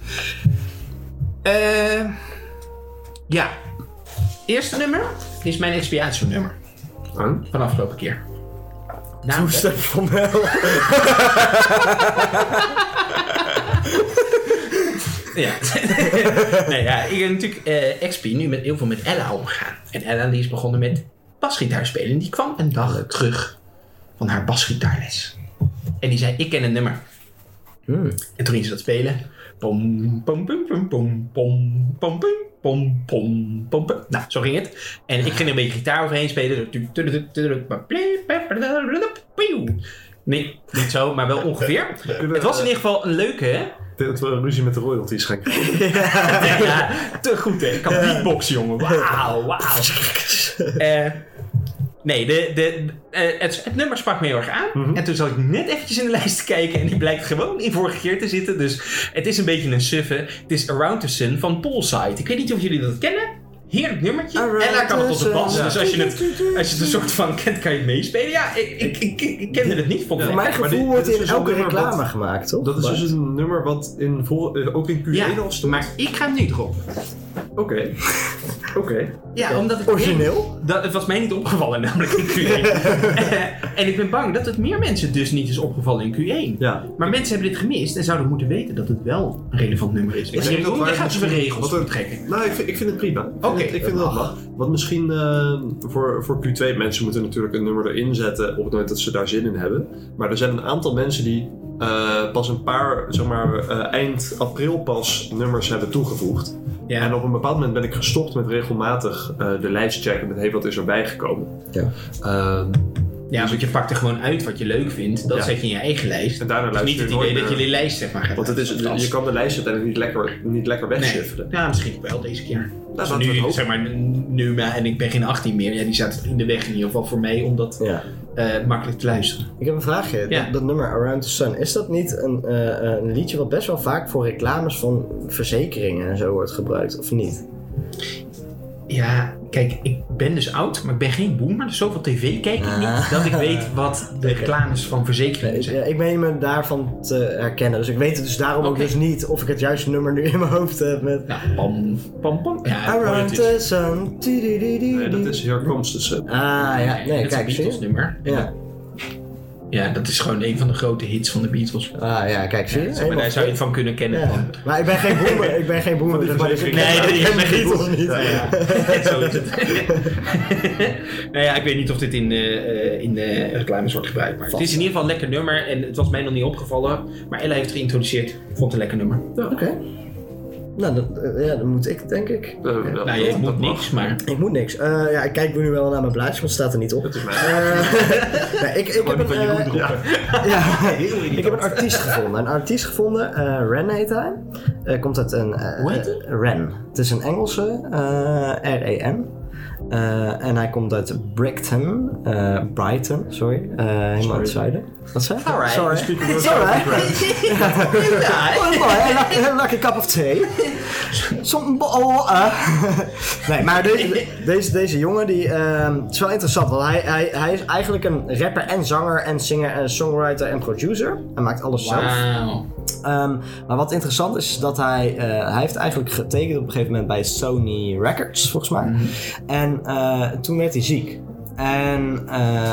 Speaker 1: Eh, ja. Eerste nummer is mijn expiatienummer
Speaker 3: Huh?
Speaker 1: van afgelopen keer.
Speaker 2: Hoe
Speaker 1: Namelijk,
Speaker 2: stem van wel?
Speaker 1: ja. nee, ja, ik ben natuurlijk eh XP nu met, heel veel met Ella omgegaan. En Ella die is begonnen met basgitaar spelen. En die kwam een dag terug van haar basgitaarles. En die zei, ik ken een nummer. En toen ging ze dat spelen. Pom, pom, pom, pom, pom, pom, pom, pom, pom, pom, pom, pom. Nou, zo ging het. En ik ging er een beetje gitaar overheen spelen. Zo tu- tu- tu- tu- tu- maar pli- pe- pe- pe- pe- pieuw. Nee, niet zo, maar wel ongeveer. Het was in ieder geval een leuke, hè?
Speaker 3: Ik denk dat we een ruzie met de royalties gaan krijgen.
Speaker 1: Ja, te goed, hè? Ik kan beatboxen, jongen. Wauw, wauw. Eh, nee, de, de, eh, het, het nummer sprak me heel erg aan. En toen zat ik net eventjes in de lijst te kijken. En die blijkt gewoon in vorige keer te zitten. Dus het is een beetje een suffe. Het is Around the Sun van Poolside. Ik weet niet of jullie dat kennen. Heerlijk nummertje.
Speaker 2: Around
Speaker 1: en daar kan het
Speaker 2: the
Speaker 1: op de bas.
Speaker 2: sun.
Speaker 1: Dus als je, het, als je het een soort van kent, kan je het meespelen. Ja, ik, ik, ik, ik kende het niet. Vond ik
Speaker 2: Voor mijn gevoel
Speaker 3: maar dit-
Speaker 2: wordt
Speaker 3: dit is
Speaker 2: in
Speaker 3: dus
Speaker 2: elke
Speaker 3: ook weer wat-
Speaker 2: reclame gemaakt, toch?
Speaker 3: Dat is
Speaker 2: Maar-
Speaker 3: dus een nummer wat in vol, eh, ook in Q1
Speaker 1: Ja,
Speaker 3: al stond.
Speaker 1: maar ik ga hem nu erop.
Speaker 3: Oké. Oké.
Speaker 1: Ja, omdat ik
Speaker 2: Origineel?
Speaker 1: Dat, het was mij niet opgevallen, namelijk in Q1. Eh, en ik ben bang dat het meer mensen dus niet is opgevallen in Q1.
Speaker 3: Ja.
Speaker 1: Maar mensen hebben dit gemist en zouden moeten weten dat het wel een relevant nummer is. En
Speaker 3: denk dat
Speaker 1: Jeroen,
Speaker 3: waar
Speaker 1: jij gaat ze weer
Speaker 3: misschien-
Speaker 1: regels
Speaker 3: wat een-
Speaker 1: trekken.
Speaker 3: Nou, ik vind, ik vind het prima. Oké.
Speaker 1: Oké,
Speaker 3: Ik vind dat mag. Want misschien eh, voor, voor Q2 mensen moeten natuurlijk een nummer erin zetten op het moment dat ze daar zin in hebben. Maar er zijn een aantal mensen die eh, pas een paar, zeg maar, eh, eind april pas nummers hebben toegevoegd.
Speaker 1: Ja.
Speaker 3: En op een bepaald moment ben ik gestopt met regelmatig eh, de lijst checken met hey, wat is er bijgekomen.
Speaker 2: Ja.
Speaker 3: Ehm,
Speaker 1: Ja, want je pakt er gewoon uit wat je leuk vindt. Dat
Speaker 3: Ja.
Speaker 1: zet je in je eigen lijst.
Speaker 3: en daarna
Speaker 1: Het is
Speaker 3: luister
Speaker 1: niet het
Speaker 3: je nooit
Speaker 1: idee dat
Speaker 3: meer.
Speaker 1: je die lijst zeg maar gaat
Speaker 3: Want het is, je kan de lijst uiteindelijk niet lekker, niet lekker Nou, wegschiffelen.
Speaker 1: Nee. Ja, misschien wel deze keer.
Speaker 3: Dat
Speaker 1: Dus nu, zeg maar, nu maar, en ik ben geen 18 meer. Ja, die zaten in de weg in ieder geval voor mij om dat
Speaker 2: Ja.
Speaker 1: eh, makkelijk te luisteren.
Speaker 2: Ik heb een vraagje.
Speaker 1: Ja.
Speaker 2: Dat, dat nummer Around the Sun, is dat niet een, eh, een liedje wat best wel vaak voor reclames van verzekeringen en zo wordt gebruikt, of niet?
Speaker 1: Ja, kijk, ik ben dus oud, maar ik ben geen boomer. Dus zoveel tv kijk ik
Speaker 2: Ah.
Speaker 1: niet dat ik weet wat de reclames van verzekeringen zijn.
Speaker 2: Ja, Eh, ik meen me daarvan te herkennen, dus ik weet het dus daarom ook
Speaker 1: Oké.
Speaker 2: dus niet of ik het juiste nummer nu in mijn hoofd heb met
Speaker 1: Nou, pam, pam, pam. Ja, ik hoor het
Speaker 2: Around
Speaker 1: dus.
Speaker 2: the Sun. tududududududududududududududududududududududududududududududududududududududududududud.
Speaker 3: Nee, dat is Here Comes the
Speaker 2: Ah
Speaker 3: Sun.
Speaker 2: ja, nee,
Speaker 1: dat is een
Speaker 2: kijk, zie je?
Speaker 1: Beatles nummer.
Speaker 2: Ja.
Speaker 1: Ja, dat is gewoon een van de grote hits van de Beatles.
Speaker 2: Ah ja, kijk, zie je?
Speaker 1: Zeg maar, daar zou je het van kunnen kennen.
Speaker 2: Helemaal-
Speaker 1: van-
Speaker 2: Ja. Maar ik ben geen boemer, ik ben geen boemer.
Speaker 3: Van die
Speaker 2: dus maar ik-
Speaker 3: verzekering.
Speaker 1: Nee, dat is
Speaker 2: ik ken
Speaker 1: echt
Speaker 2: de
Speaker 1: niet.
Speaker 2: Beatles niet.
Speaker 1: Ja, ja. Zo is het. nou ja, ik weet niet of dit in, eh, eh, in eh, reclames wordt gebruikt. Maar het is in ieder geval een lekker nummer. En het was mij nog niet opgevallen. Maar Ella heeft het geïntroduceerd. Vond het een lekker nummer.
Speaker 2: Oké. Nou, dat, eh, ja, dan moet ik, denk ik.
Speaker 3: Eh, wel, dat-
Speaker 1: nou, je
Speaker 3: dat
Speaker 1: moet
Speaker 3: mag.
Speaker 1: niks, maar...
Speaker 2: Ik moet niks. Eh, ja, ik kijk nu wel naar mijn blaadje, want het staat er niet op.
Speaker 3: Dat is mij.
Speaker 2: Eh, nee, ik, ik, heb
Speaker 3: Gewoon
Speaker 2: een,
Speaker 3: van Jeroen
Speaker 2: eh,
Speaker 3: droppen.
Speaker 2: ja, ik heb een artiest gevonden. Een artiest gevonden, eh, Ren heet hij. Eh, komt uit een... eh,
Speaker 1: Hoe heet hij?
Speaker 2: eh, Ren. Het is een Engelse, eh, R-E-N. Eh, en hij komt uit Brighton, eh, Brighton, sorry, eh, helemaal uit het zuiden. Wat zei je?
Speaker 1: Alright.
Speaker 2: Sorry.
Speaker 3: Speaking of
Speaker 2: It's alright.
Speaker 1: Ja,
Speaker 2: Oh, mooi. Een lekker cup of tea. Something bottle, eh. Nee, maar deze, deze, deze jongen, die, ehm, het is wel interessant, want hij, hij, hij is eigenlijk een rapper en zanger en singer en songwriter en producer. Hij maakt alles zelf.
Speaker 1: Wauw.
Speaker 2: Ehm, maar wat interessant is, is dat hij, eh, hij heeft eigenlijk getekend op een gegeven moment bij Sony Records, volgens mij. En eh, toen werd hij ziek. En eh,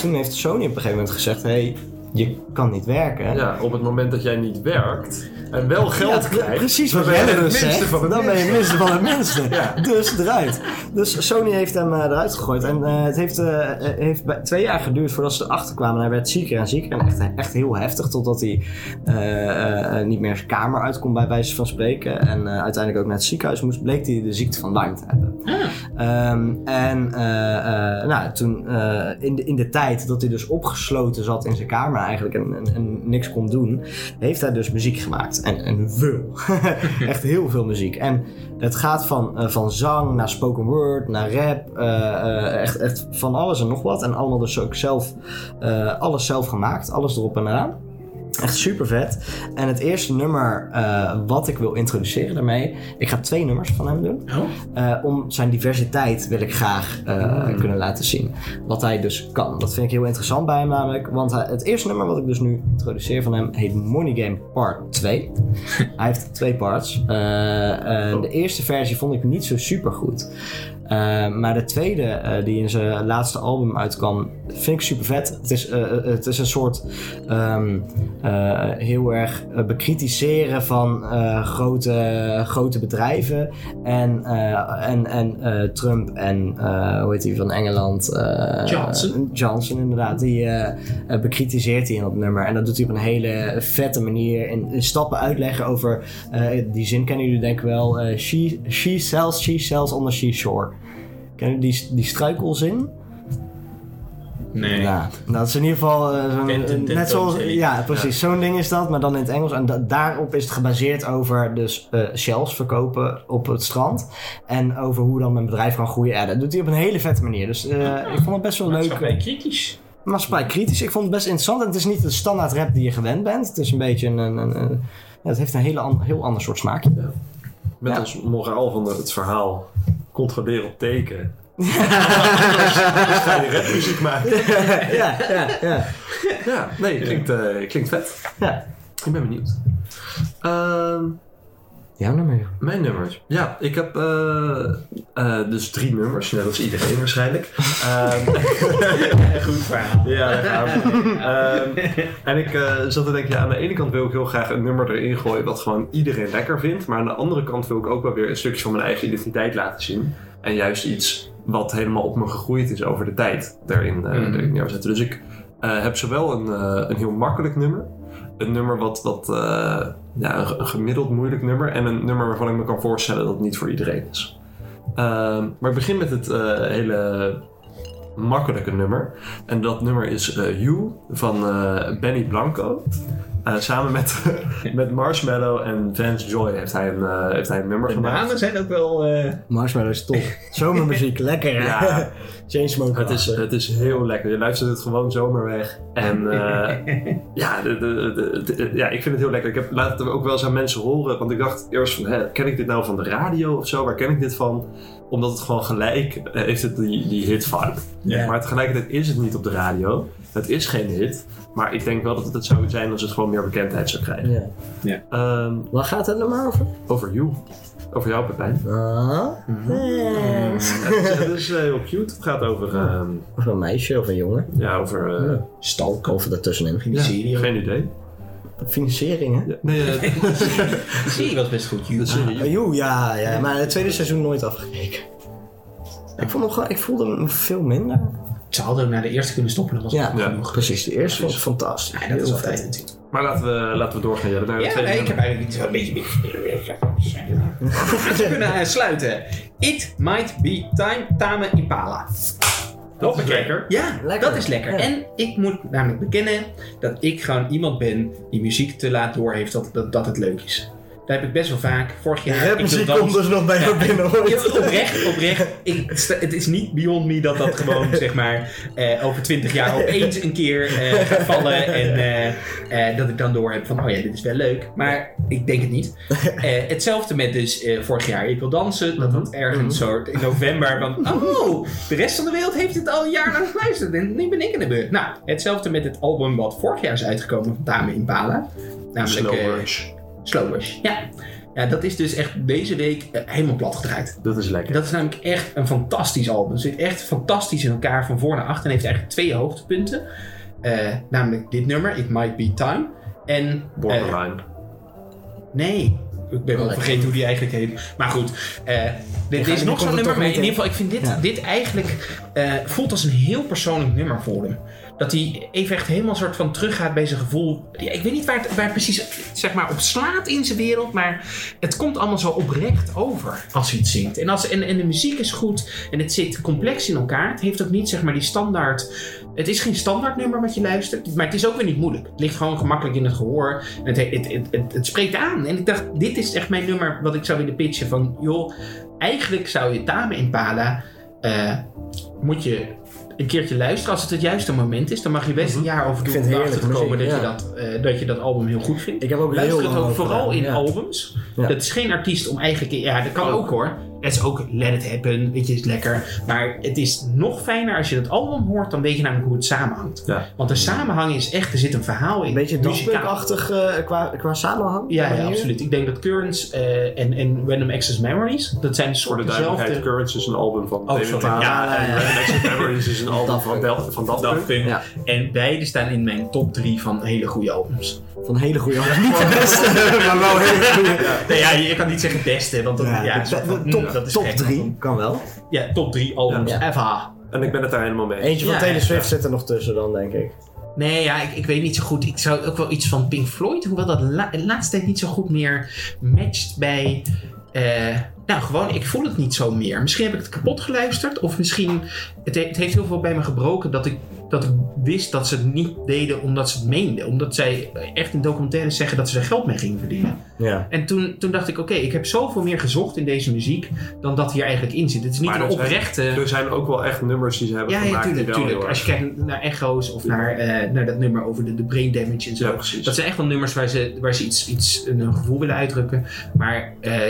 Speaker 2: toen heeft Sony op een gegeven moment gezegd, hé, hey, je kan niet werken.
Speaker 3: Ja, op het moment dat jij niet werkt en wel geld
Speaker 2: Ja, pre-
Speaker 3: krijgt.
Speaker 2: Precies
Speaker 3: dan
Speaker 2: wat
Speaker 3: ben je
Speaker 2: Jelle
Speaker 3: het
Speaker 2: dus
Speaker 3: minste
Speaker 2: zegt.
Speaker 3: van het
Speaker 2: Dan ben je het
Speaker 3: minste.
Speaker 2: minste van het minste.
Speaker 3: Ja.
Speaker 2: Dus eruit. Dus Sony heeft hem eh, eruit gegooid. En eh, het heeft, eh, eh, heeft bij- twee jaar geduurd voordat ze erachter kwamen. En hij werd zieker en zieker. En echt, echt heel heftig. Totdat hij eh, eh, niet meer zijn kamer uit kon bij wijze van spreken. En eh, uiteindelijk ook naar het ziekenhuis moest. Bleek hij de ziekte van Lyme te hebben.
Speaker 1: Ah,
Speaker 2: Ehm, en eh, eh, nou, toen, eh, in, de, in de tijd dat hij dus opgesloten zat in zijn kamer eigenlijk en, en, en niks kon doen, heeft hij dus muziek gemaakt. En, en veel. Echt heel veel muziek. En het gaat van, eh, van zang naar spoken word, naar rap, eh, eh, echt, echt van alles en nog wat. En allemaal dus ook zelf, eh, alles zelf gemaakt, alles erop en eraan. Echt super vet. En het eerste nummer eh, wat ik wil introduceren daarmee. Ik ga twee nummers van hem doen.
Speaker 1: Oh,
Speaker 2: Eh, om zijn diversiteit wil ik graag eh, kunnen laten zien. Wat hij dus kan. Dat vind ik heel interessant bij hem namelijk. Want hij- het eerste nummer wat ik dus nu introduceer van hem heet Money Game Part 2. hij heeft twee parts. Eh, eh, De eerste versie vond ik niet zo super goed. maar de tweede, eh, die in zijn laatste album uitkwam, vind ik super vet. Het is, eh, eh, het is een soort ehm, eh, heel erg eh, bekritiseren van eh, grote, grote bedrijven. En, eh, en, en eh, Trump en eh, hoe heet hij van Engeland? eh,
Speaker 1: Johnson.
Speaker 2: Johnson, inderdaad. Die eh, eh, bekritiseert hij in dat nummer. En dat doet hij op een hele vette manier. In, in stappen uitleggen over. eh, die zin kennen jullie denk ik wel. eh, she, she sells, she sells on the seashore. Kennen jullie die, die struikelzin?
Speaker 1: nee.
Speaker 2: Ja, dat is in ieder geval eh, zo'n-
Speaker 1: Tent- tent-
Speaker 2: net zoals,
Speaker 1: tentoonstelling.
Speaker 2: ja precies, zo'n ding is dat, maar dan in het Engels. En da- daarop is het gebaseerd over dus eh, shells verkopen op het strand en over hoe dan een bedrijf kan groeien. Ja, dat doet hij op een hele vette manier, dus eh, ik vond het best wel leuk.
Speaker 1: Maatschappij kritisch.
Speaker 2: Maatschappij kritisch, ik vond het best interessant en het is niet de standaard rap die je gewend bent. Het is een beetje een, een, een- een- ja, het heeft een hele an- heel ander soort smaakje.
Speaker 3: Met
Speaker 2: Ja.
Speaker 3: als moraal van het verhaal. Controleer op teken. Ga je rapmuziek maken?
Speaker 2: ja, ja, ja,
Speaker 3: Ja, nee, klinkt, eh, klinkt vet.
Speaker 2: ja.
Speaker 3: Ik ben benieuwd. Ehm,
Speaker 2: Jouw nummer?
Speaker 3: mijn nummers. Ja, ik heb eh, eh, dus drie nummers. Net als iedereen waarschijnlijk. Ehm,
Speaker 1: Goed verhaal.
Speaker 3: Ja, daar gaan we. Ehm, en ik eh, zat te denken, ja, aan de ene kant wil ik heel graag een nummer erin gooien wat gewoon iedereen lekker vindt. Maar aan de andere kant wil ik ook wel weer een stukje van mijn eigen identiteit laten zien. En juist iets wat helemaal op me gegroeid is over de tijd daarin, eh
Speaker 1: Mm.
Speaker 3: erin neerzetten. Dus ik eh, heb zowel een, eh, een heel makkelijk nummer. een nummer wat, wat eh, ja, een, een gemiddeld moeilijk nummer en een nummer waarvan ik me kan voorstellen dat het niet voor iedereen is. Ehm, maar ik begin met het eh, hele makkelijke nummer. En dat nummer is eh You van eh, Benny Blanco. Eh, samen met, met Marshmallow en Vance Joy heeft hij een, eh, heeft hij een nummer
Speaker 1: De
Speaker 3: gemaakt.
Speaker 1: namen zijn ook wel... eh,
Speaker 2: Marshmallow is top. Zomermuziek, lekker hè?
Speaker 3: Ja.
Speaker 2: Chainsmoker.
Speaker 3: Het is, het is heel lekker. Je luistert het gewoon zomaar weg. En eh, ja, de, de, de- de- ja, ik vind het heel lekker. Ik heb, laat het ook wel eens aan mensen horen. Want ik dacht eerst van, hè, ken ik dit nou van de radio of zo? Waar ken ik dit van? Omdat het gewoon gelijk eh, heeft het die, die hit vibe.
Speaker 2: Ja.
Speaker 3: Maar tegelijkertijd is het niet op de radio. Het is geen hit. Maar ik denk wel dat het het zou zijn als het gewoon meer bekendheid zou krijgen.
Speaker 2: ja.
Speaker 3: Ehm,
Speaker 2: Waar gaat het nummer over?
Speaker 3: over jou. Over jou, Pepijn.
Speaker 2: Ah, yes.
Speaker 3: het, is, het is, eh, heel cute. Het gaat over, ehm,
Speaker 2: Of een meisje of een jongen.
Speaker 3: ja, over eh,
Speaker 2: Ja. Stalken. Of daartussenin.
Speaker 1: Die serie ook.
Speaker 3: geen idee.
Speaker 2: Financiering hè?
Speaker 3: Ja, nee, eh,
Speaker 1: De serie was best goed.
Speaker 3: De
Speaker 1: Jules.
Speaker 3: serie.
Speaker 2: Joe, ja, ja, maar het tweede seizoen nooit afgekeken. Ik, vond hem gewoon, ik voelde hem veel minder.
Speaker 1: Ze hadden ook naar de eerste kunnen stoppen. Dat was
Speaker 2: Ja,
Speaker 1: ook
Speaker 3: Ja.
Speaker 1: genoeg.
Speaker 2: precies. De eerste was fantastisch.
Speaker 1: Ja, dat is
Speaker 2: Heel
Speaker 1: altijd
Speaker 2: vet.
Speaker 1: natuurlijk.
Speaker 3: Maar laten we, laten we doorgaan. Jelle, naar het
Speaker 1: Ja,
Speaker 3: tweede
Speaker 1: nee, ik heb
Speaker 3: nummer.
Speaker 1: eigenlijk iets wel een beetje... We kunnen eh, sluiten. It might be time, Tame Impala.
Speaker 3: Dat is
Speaker 1: Hoppakee.
Speaker 3: lekker.
Speaker 1: Ja,
Speaker 2: Lekker.
Speaker 1: dat is lekker.
Speaker 2: Ja.
Speaker 1: En ik moet namelijk bekennen dat ik gewoon iemand ben die muziek te laat doorheeft dat, dat, dat het leuk is. Daar heb ik best wel vaak. Vorig jaar. ik wil
Speaker 2: Rapmuziek
Speaker 1: dansen.
Speaker 2: komt dus nog bij jou binnen
Speaker 1: Ik heb
Speaker 2: ooit.
Speaker 1: het oprecht, oprecht. Ik, sta- het is niet beyond me dat dat gewoon, zeg maar, eh, over twintig jaar opeens een keer eh, gaat vallen. En eh, eh, dat ik dan door heb van, oh ja, dit is wel leuk. Maar ik denk het niet. Eh, hetzelfde met dus eh, vorig jaar Ik Wil Dansen.
Speaker 3: Mhm.
Speaker 1: Dat dat ergens soort in november van, oh, de rest van de wereld heeft dit al een jaar lang geluisterd. En nu ben ik in de beurt. Nou, hetzelfde met het album wat vorig jaar is uitgekomen van Dame Impala. Namelijk eh,
Speaker 3: Slow Rush.
Speaker 1: Slow Rush. Ja. ja, dat is dus echt deze week eh, helemaal plat gedraaid.
Speaker 3: Dat is lekker.
Speaker 1: Dat is namelijk echt een fantastisch album. Het zit echt fantastisch in elkaar van voor naar achter. En heeft eigenlijk twee hoogtepunten. Eh, namelijk dit nummer, It Might Be Time. En... eh,
Speaker 3: Borderline.
Speaker 1: nee, ik ben wel vergeten hoe die eigenlijk heet. Maar goed, eh, dit
Speaker 2: die
Speaker 1: is nog
Speaker 2: komt
Speaker 1: zo'n
Speaker 2: er
Speaker 1: nummer. Maar
Speaker 2: toch
Speaker 1: in
Speaker 2: niet in.
Speaker 1: ieder geval, ik vind dit,
Speaker 2: Ja.
Speaker 1: dit eigenlijk... eh, voelt als een heel persoonlijk nummer voor hem. Dat hij even echt helemaal soort van teruggaat bij zijn gevoel. Ja, ik weet niet waar het, waar het precies zeg maar, op slaat in zijn wereld. Maar het komt allemaal zo oprecht over als hij het zingt. En, als, en, en de muziek is goed en het zit complex in elkaar. Het heeft ook niet zeg maar die standaard. Het is geen standaard nummer wat je luistert, maar het is ook weer niet moeilijk. Het ligt gewoon gemakkelijk in het gehoor. En het, het, het, het, het spreekt aan. En ik dacht, dit is echt mijn nummer wat ik zou willen pitchen. Van joh, eigenlijk zou je Tame Impala. eh moet je een keertje luisteren. Als het het juiste moment is, dan mag je best een jaar over doen
Speaker 2: Mhm. Ik
Speaker 1: om
Speaker 2: vind het
Speaker 1: erachter te
Speaker 2: heerlijke
Speaker 1: komen dat, je
Speaker 2: muziek,
Speaker 1: dat, eh, dat je dat album heel goed vindt.
Speaker 2: Ik heb ook heel
Speaker 1: Luister
Speaker 2: lang
Speaker 1: het ook
Speaker 2: over
Speaker 1: vooral
Speaker 2: gedaan,
Speaker 1: in
Speaker 2: ja.
Speaker 1: albums.
Speaker 2: Ja.
Speaker 1: Dat is geen artiest om eigen keer. Ja, dat kan
Speaker 3: Ook.
Speaker 1: ook, hoor. Het is ook Let It Happen, weet je, is lekker. Maar het is nog fijner als je dat album hoort, dan weet je namelijk hoe het samenhangt.
Speaker 3: Ja.
Speaker 1: Want de samenhang is echt, er zit een verhaal in.
Speaker 2: Een beetje
Speaker 1: muzikaal.
Speaker 2: dagpunkachtig eh qua, qua samenhang.
Speaker 1: Ja, ja,
Speaker 2: manier.
Speaker 1: absoluut. Ik denk dat Currents eh, en, en Random Access Memories, dat zijn een
Speaker 3: Voor de
Speaker 1: soort
Speaker 3: duidelijkheid,
Speaker 1: dezelfde... Oh,
Speaker 3: Currents is een album van David
Speaker 1: sorry.
Speaker 3: Bowie.
Speaker 2: Ja, ja,
Speaker 3: en
Speaker 2: ja.
Speaker 3: Random Access Memories is een album
Speaker 2: Daft
Speaker 3: van
Speaker 2: Punk.
Speaker 3: Del- van Daft Punk.
Speaker 2: Ja.
Speaker 1: En beide staan in mijn top 3 van hele goede albums.
Speaker 2: Van hele goede albums. Niet de beste, maar wel Oh, hele goede.
Speaker 1: Nee, ja, je kan niet zeggen beste, want dat, ja,
Speaker 2: Ja, de-
Speaker 1: soort van,
Speaker 2: de-
Speaker 1: mm, dat
Speaker 2: top-
Speaker 1: is
Speaker 2: Top
Speaker 1: gek.
Speaker 2: 3 kan wel.
Speaker 1: Ja, top 3 albums.
Speaker 2: Ja.
Speaker 1: FH.
Speaker 3: En ik ben het daar helemaal mee. eens.
Speaker 2: Eentje van
Speaker 1: Ja,
Speaker 2: Taylor
Speaker 1: ja,
Speaker 2: Swift zit er nog tussen dan, denk ik.
Speaker 1: Nee, ja, ik, ik weet niet zo goed. Ik zou ook wel iets van Pink Floyd, hoewel dat la de laatste tijd niet zo goed meer matcht bij. eh, nou, gewoon, ik voel het niet zo meer. Misschien heb ik het kapot geluisterd, of misschien. Het, he- het heeft heel veel bij me gebroken dat ik, dat ik wist dat ze het niet deden omdat ze het meenden. Omdat zij echt in documentaires zeggen dat ze er geld mee gingen verdienen.
Speaker 2: Ja.
Speaker 1: En toen, toen dacht ik, oké, ik heb zoveel meer gezocht in deze muziek dan dat hier eigenlijk in zit. Het is niet
Speaker 3: Maar
Speaker 1: een
Speaker 3: er zijn-
Speaker 1: oprechte.
Speaker 3: Er zijn ook wel echt nummers die ze hebben
Speaker 1: Ja, ja,
Speaker 3: gemaakt. die
Speaker 1: tuurlijk,
Speaker 3: wel
Speaker 1: tuurlijk.
Speaker 3: heel
Speaker 1: Als je
Speaker 3: erg-
Speaker 1: kijkt naar echo's of naar, eh, naar dat nummer over de, de brain damage en zo.
Speaker 3: Ja, precies.
Speaker 1: dat zijn echt wel nummers waar ze, waar ze iets, iets, een gevoel willen uitdrukken. Maar eh,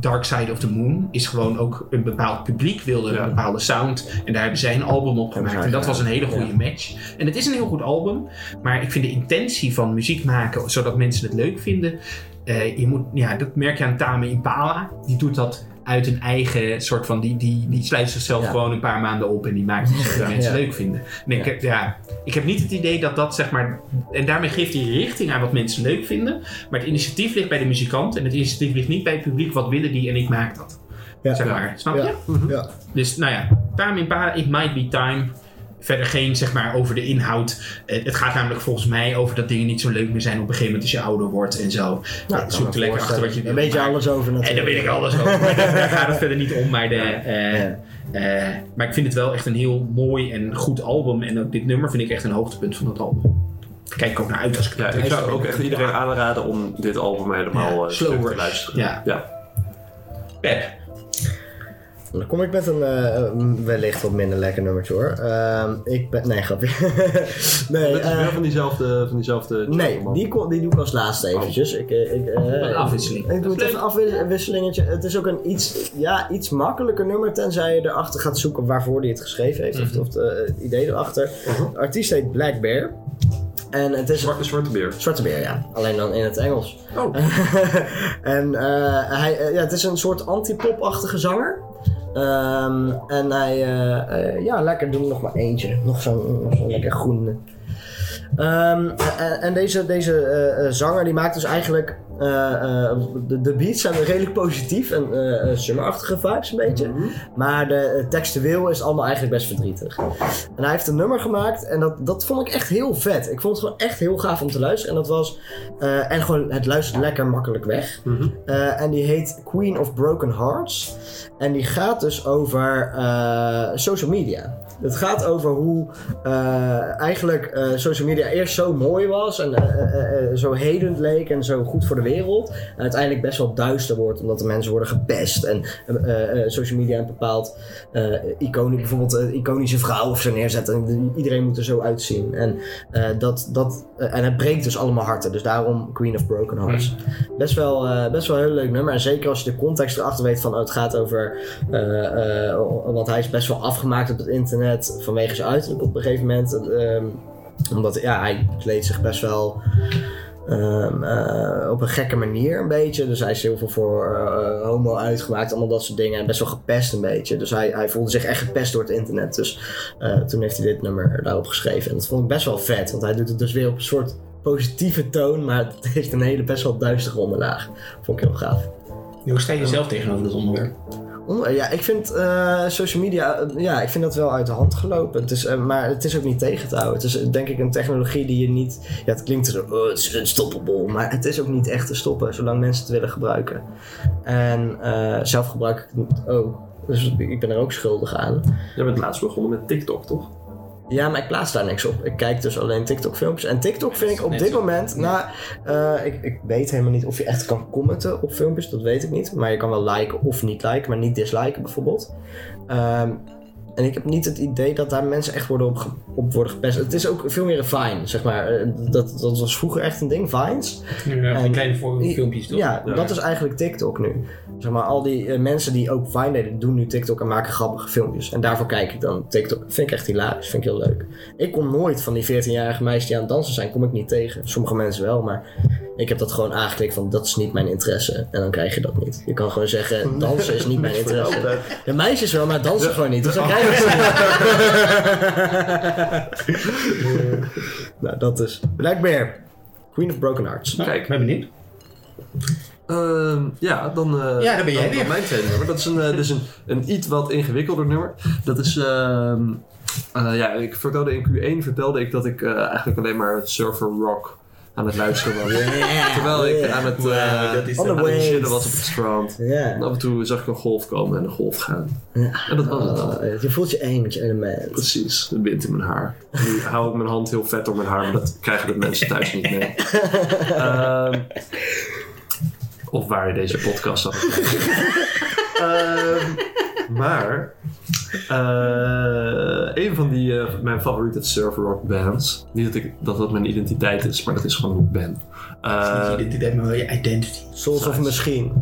Speaker 1: Dark Side of the Moon is gewoon ook een bepaald publiek wilde
Speaker 3: Ja.
Speaker 1: een bepaalde sound. En daar hebben zij een album op gemaakt. En dat was een hele goede match. En het is een heel goed album. Maar ik vind de intentie van muziek maken, zodat mensen het leuk vinden. eh, je moet, ja, dat merk je aan Tame Impala. Die doet dat uit een eigen soort van... Die, die, die sluit zichzelf
Speaker 2: Ja.
Speaker 1: gewoon een paar maanden op en die maakt iets dat mensen leuk vinden. En ik, heb- ja, ik heb niet het idee dat dat zeg maar... En daarmee geeft hij richting aan wat mensen leuk vinden. Maar het initiatief ligt bij de muzikant. En het initiatief ligt niet bij het publiek. Wat willen die en ik maak dat.
Speaker 2: Ja.
Speaker 1: Zeg maar. Snap je?
Speaker 2: Ja.
Speaker 1: Dus nou ja, Time in Pa, It Might Be Time. verder geen zeg maar over de inhoud. Eh, het gaat namelijk volgens mij over dat dingen niet zo leuk meer zijn op een gegeven moment als je ouder wordt en zo.
Speaker 2: Nou,
Speaker 1: Eh, zoek er lekker achter wat je
Speaker 2: Een
Speaker 1: wilt.
Speaker 2: beetje
Speaker 1: maar-
Speaker 2: alles over natuurlijk.
Speaker 1: en daar weet ik alles over. Maar daar, daar gaat het verder niet om. Maar, de, eh,
Speaker 2: Ja.
Speaker 1: eh, maar ik vind het wel echt een heel mooi en goed album. En ook dit nummer vind ik echt een hoogtepunt van het album. Daar kijk ik ook naar uit als ik
Speaker 3: Ja,
Speaker 1: het
Speaker 3: ik zou
Speaker 1: luister.
Speaker 3: ook echt iedereen aanraden om dit album helemaal eh,
Speaker 1: Slow
Speaker 3: terug te
Speaker 1: Rush.
Speaker 3: luisteren.
Speaker 1: Ja. Eh, Pep.
Speaker 2: Dan kom ik met een eh, wellicht wat minder lekker nummertje hoor. Ehm, ik ben... Nee, grapje. nee,
Speaker 3: Dat is wel
Speaker 2: eh,
Speaker 3: van diezelfde, van diezelfde
Speaker 2: nee
Speaker 3: gentleman.
Speaker 2: die, ko- die doe ik als laatste eventjes. Ik, eh, ik, eh,
Speaker 1: Oh. Een afwisseling.
Speaker 2: Ik doe
Speaker 1: Dat
Speaker 2: het
Speaker 1: is
Speaker 2: als een afwisselingetje. Het is ook een iets, ja, iets makkelijker nummer, tenzij je erachter gaat zoeken waarvoor hij het geschreven heeft.
Speaker 1: Mhm.
Speaker 2: Of, of eh, het idee erachter. De artiest heet Black Bear. En het is...
Speaker 3: Zwarte, zwarte beer.
Speaker 2: Zwarte beer, ja. Alleen dan in het Engels.
Speaker 1: Oh.
Speaker 2: en eh, hij, eh, ja, het is een soort anti-pop-achtige zanger. Ehm, en hij, eh, eh, ja, lekker doen nog maar eentje. Nog zo'n nog zo'n lekker groene. Ehm, en, en deze, deze eh, eh, zanger die maakt dus eigenlijk. eh, eh, de, de beats zijn redelijk positief en eh, eh, summerachtige vibes een beetje. Maar de, eh, textueel is het allemaal eigenlijk best verdrietig. En hij heeft een nummer gemaakt en dat, dat vond ik echt heel vet. Ik vond het gewoon echt heel gaaf om te luisteren. En dat was. eh, en gewoon, het luistert lekker makkelijk weg.
Speaker 3: Mhm.
Speaker 2: Eh, en die heet Queen of Broken Hearts. En die gaat dus over eh, social media. Het gaat over hoe eh, eigenlijk eh, social media eerst zo mooi was en eh, eh, eh, zo hedend leek en zo goed voor de wereld. En uiteindelijk best wel duister wordt omdat de mensen worden gepest. En eh, eh, social media een bepaald eh icoon, bijvoorbeeld een iconische vrouw of zo neerzet. En iedereen moet er zo uitzien. En, eh, dat, dat, eh, en het breekt dus allemaal harten. Dus daarom Queen of Broken Hearts best wel, eh, best wel een heel leuk nummer. En zeker als je de context erachter weet van oh, het gaat over. eh, eh, want hij is best wel afgemaakt op het internet vanwege zijn uiterlijk op een gegeven moment. Ehm, omdat ja, hij kleedt zich best wel. ehm, eh, op een gekke manier een beetje. Dus hij is heel veel voor eh, eh, homo uitgemaakt, allemaal dat soort dingen. En best wel gepest een beetje. Dus hij, hij voelde zich echt gepest door het internet. Dus eh, toen heeft hij dit nummer daarop geschreven. En dat vond ik best wel vet. Want hij doet het dus weer op een soort positieve toon, maar het heeft een hele best wel duistere onderlaag. Vond ik heel gaaf.
Speaker 1: Hoe sta je zelf tegenover dit onderwerp?
Speaker 2: Onder- Ja, ik vind eh, social media, eh, ja, ik vind dat wel uit de hand gelopen. Het is, eh, maar het is ook niet tegen te houden. Het is eh, denk ik een technologie die je niet, ja, het klinkt zo, oh, het is unstoppable, maar het is ook niet echt te stoppen, zolang mensen het willen gebruiken. En eh, zelf gebruik ik het niet ook, dus ik ben er ook schuldig aan.
Speaker 3: Jij bent laatst begonnen met TikTok, toch?
Speaker 2: Ja, maar ik plaats daar niks op. Ik kijk dus alleen TikTok-filmpjes. En TikTok vind ik op
Speaker 1: Net
Speaker 2: dit
Speaker 1: zo.
Speaker 2: moment. Nou, eh, ik, ik weet helemaal niet of je echt kan commenten op filmpjes. Dat weet ik niet. Maar je kan wel liken of niet liken, maar niet disliken bijvoorbeeld. Ehm, en ik heb niet het idee dat daar mensen echt worden op, ge- op worden gepest. Het is ook veel meer een Vine, zeg maar. Eh, Dat, dat was vroeger echt een ding, Vines.
Speaker 1: Ja,
Speaker 2: En-
Speaker 1: kleine voor-
Speaker 2: Ja,
Speaker 1: filmpjes toch?
Speaker 2: Ja,
Speaker 3: Ja.
Speaker 2: dat is eigenlijk TikTok nu. Zeg maar, al die eh, mensen die ook Vine deden, doen nu TikTok en maken grappige filmpjes. En daarvoor kijk ik dan TikTok. Vind ik echt hilarisch, vind ik heel leuk. Ik kom nooit van die 14-jarige meisjes die aan het dansen zijn, kom ik niet tegen. Sommige mensen wel, maar ik heb dat gewoon aangeklikt van dat is niet mijn interesse. En dan krijg je dat niet. Je kan gewoon zeggen, dansen is niet mijn interesse. De meisjes wel, maar dansen gewoon niet. Dus dan krijg je ze niet. Nou, dat is Black Bear. Queen of Broken Hearts.
Speaker 1: Nou,
Speaker 3: Kijk.
Speaker 1: ben benieuwd.
Speaker 3: Ehm, ja, dan, eh,
Speaker 1: Ja, daar ben jij
Speaker 3: dan- dan
Speaker 1: weer.
Speaker 3: mijn tweede nummer. Dat is een, eh, dus een, een iets wat ingewikkelder nummer. Dat is... ehm, eh, ja, ik vertelde in Q1 vertelde ik dat ik eh, eigenlijk alleen maar surfer rock aan het luisteren was. Terwijl ik aan het, eh
Speaker 1: Wauw, dat is
Speaker 3: aan
Speaker 2: de-
Speaker 3: het chillen was op het strand.
Speaker 2: Ja.
Speaker 3: En af en toe zag ik een golf komen en een golf gaan.
Speaker 2: Ja.
Speaker 3: En dat was het dan.
Speaker 2: Oh, je voelt je één met je element.
Speaker 3: Precies, de wind in mijn haar. Nu hou ik mijn hand heel vet door mijn haar, maar dat krijgen de mensen thuis niet mee. Ehm, of waar je deze podcast aan Ehm Maar eh, een van die, eh, mijn favoriete surfer rock bands, niet dat, ik, dat dat mijn identiteit is, maar dat is gewoon hoe ik ben. Eh,
Speaker 1: dit, dit heeft me wel je identity.
Speaker 2: Soms of misschien.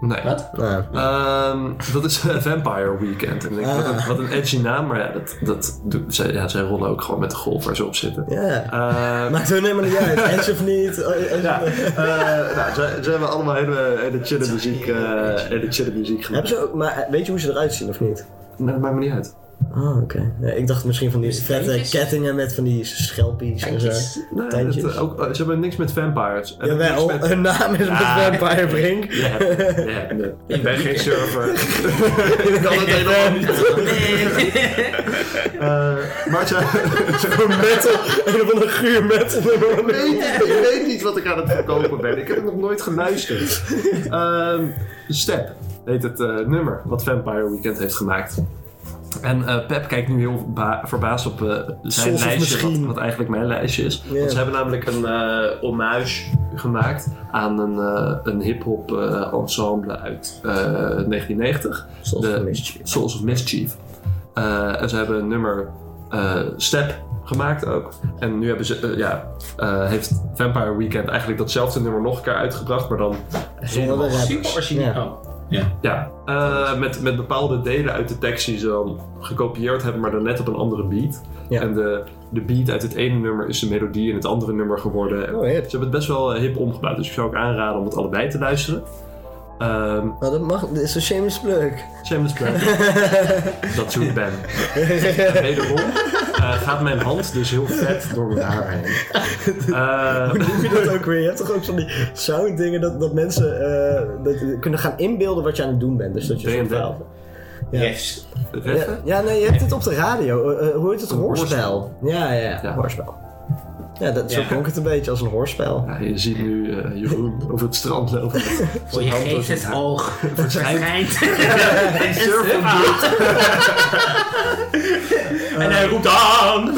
Speaker 3: nee.
Speaker 1: Wat?
Speaker 2: Nou,
Speaker 3: Ehm, dat is eh, Vampire Weekend. En ik denk, wat, een, wat een edgy naam, maar ja, dat, dat, doen- zij, ja, zij rollen ook gewoon met de golf waar ze op zitten.
Speaker 2: ja.
Speaker 3: Eh,
Speaker 2: Maakt hun helemaal niet uit. Eens of niet. Oh, eens-
Speaker 3: ja, eh, nou, ze, ze hebben allemaal hele, hele chille muziek, eh hele chille muziek
Speaker 2: Hebben
Speaker 3: gemaakt.
Speaker 2: eh, ze ook, maar weet je hoe ze eruit zien of niet?
Speaker 3: Nee, dat maakt me niet uit.
Speaker 2: Oh, oké. Ja, ik dacht misschien van die
Speaker 1: Met
Speaker 2: vette
Speaker 1: tandjes?
Speaker 2: kettingen met van die schelpies en zo.
Speaker 1: Tandjes.
Speaker 3: Nee, dat,
Speaker 2: Tandjes.
Speaker 3: eh, ook, eh, ze hebben niks met vampires. En
Speaker 2: Jawel,
Speaker 3: niks met-
Speaker 2: hun naam is met
Speaker 3: Ah.
Speaker 2: Vampire Brink.
Speaker 3: Ja, ja, nee. Ik ben geen surfer. Ik kan het helemaal niet. Eh, maar ze-
Speaker 2: Een metal, een van de guur metal nummer.
Speaker 3: ik weet niet wat ik aan het verkopen ben. Ik heb het nog nooit geluisterd. Ehm, Step heet het eh, nummer wat Vampire Weekend heeft gemaakt. En eh, Pep kijkt nu heel ba- verbaasd op eh, zijn
Speaker 2: Soms of
Speaker 3: lijstje, wat,
Speaker 2: misschien.
Speaker 3: wat eigenlijk mijn lijstje is.
Speaker 2: Ja.
Speaker 3: Want ze hebben namelijk een eh hommage gemaakt aan een, eh, een hip-hop eh, ensemble uit eh, 1990.
Speaker 2: Soms
Speaker 3: De-
Speaker 2: een mischief.
Speaker 3: Souls of Mischief. Eh, en ze hebben een nummer eh, Step gemaakt ook. En nu hebben ze, eh, ja, eh, heeft Vampire Weekend eigenlijk datzelfde nummer nog een keer uitgebracht, maar dan helemaal...
Speaker 2: de rap.
Speaker 1: Super origineel.
Speaker 2: Ja.
Speaker 1: Oh.
Speaker 3: Ja, eh, met, met bepaalde delen uit de tekst die ze dan gekopieerd hebben, maar dan net op een andere beat.
Speaker 2: Ja.
Speaker 3: En de, de beat uit het ene nummer is de melodie en het andere nummer geworden.
Speaker 2: Oh, hip.
Speaker 3: Ze hebben het best wel eh, hip omgebouwd, dus ik zou ook aanraden om het allebei te luisteren. Ehm
Speaker 2: Nou, dat mag, dit is een shameless plug.
Speaker 3: Shameless plug. Dat is hoe ik ben. Wederom eh, gaat mijn hand dus heel vet door mijn haar heen. Eh,
Speaker 2: Hoe doe je dat ook weer? Je hebt toch ook van die sounddingen dat, dat mensen eh, dat, kunnen gaan inbeelden wat je aan het doen bent. Dus dat je zo'n
Speaker 3: D&D.
Speaker 2: verhaal- Ja.
Speaker 1: Yes.
Speaker 3: reffen?
Speaker 2: Ja, ja, nee, je hebt dit op de radio. Eh, eh, hoe heet het? Hoorspel. Ja, ja, ja.
Speaker 3: Ja.
Speaker 2: Hoorspel. Ja, dat, zo
Speaker 1: Ja.
Speaker 2: klonk het een beetje als een hoorspel.
Speaker 3: Ja, je ziet nu eh, Jeroen over het strand lopen.
Speaker 1: Voor je
Speaker 3: hand
Speaker 1: geest
Speaker 3: door zijn
Speaker 1: het
Speaker 3: haar.
Speaker 1: oog verschijnt. en
Speaker 3: surfen
Speaker 1: En hij roept aan.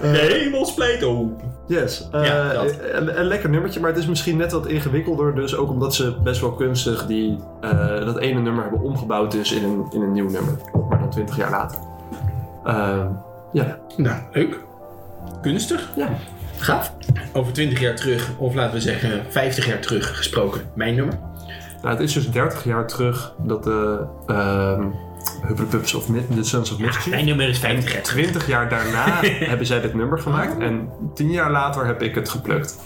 Speaker 1: De hemel splijt open.
Speaker 3: Yes. eh,
Speaker 1: Ja, dat.
Speaker 3: een, een lekker nummertje, maar het is misschien net wat ingewikkelder. Dus ook omdat ze best wel kunstig die, eh, dat ene nummer hebben omgebouwd dus in een, in een nieuw nummer. Maar dan 20 jaar later. Ehm, ja.
Speaker 1: Nou, leuk. Kunstig.
Speaker 3: ja.
Speaker 2: Gaaf.
Speaker 1: Over 20 jaar terug, of laten we zeggen 50 jaar terug gesproken, mijn nummer.
Speaker 3: Nou, het is dus 30 jaar terug dat de ehm Hupplepups of Mi- The Sons of Mischief...
Speaker 1: Mijn nummer is 50 jaar terug.
Speaker 3: 20 jaar daarna hebben zij dit nummer gemaakt en 10 jaar later heb ik het geplukt.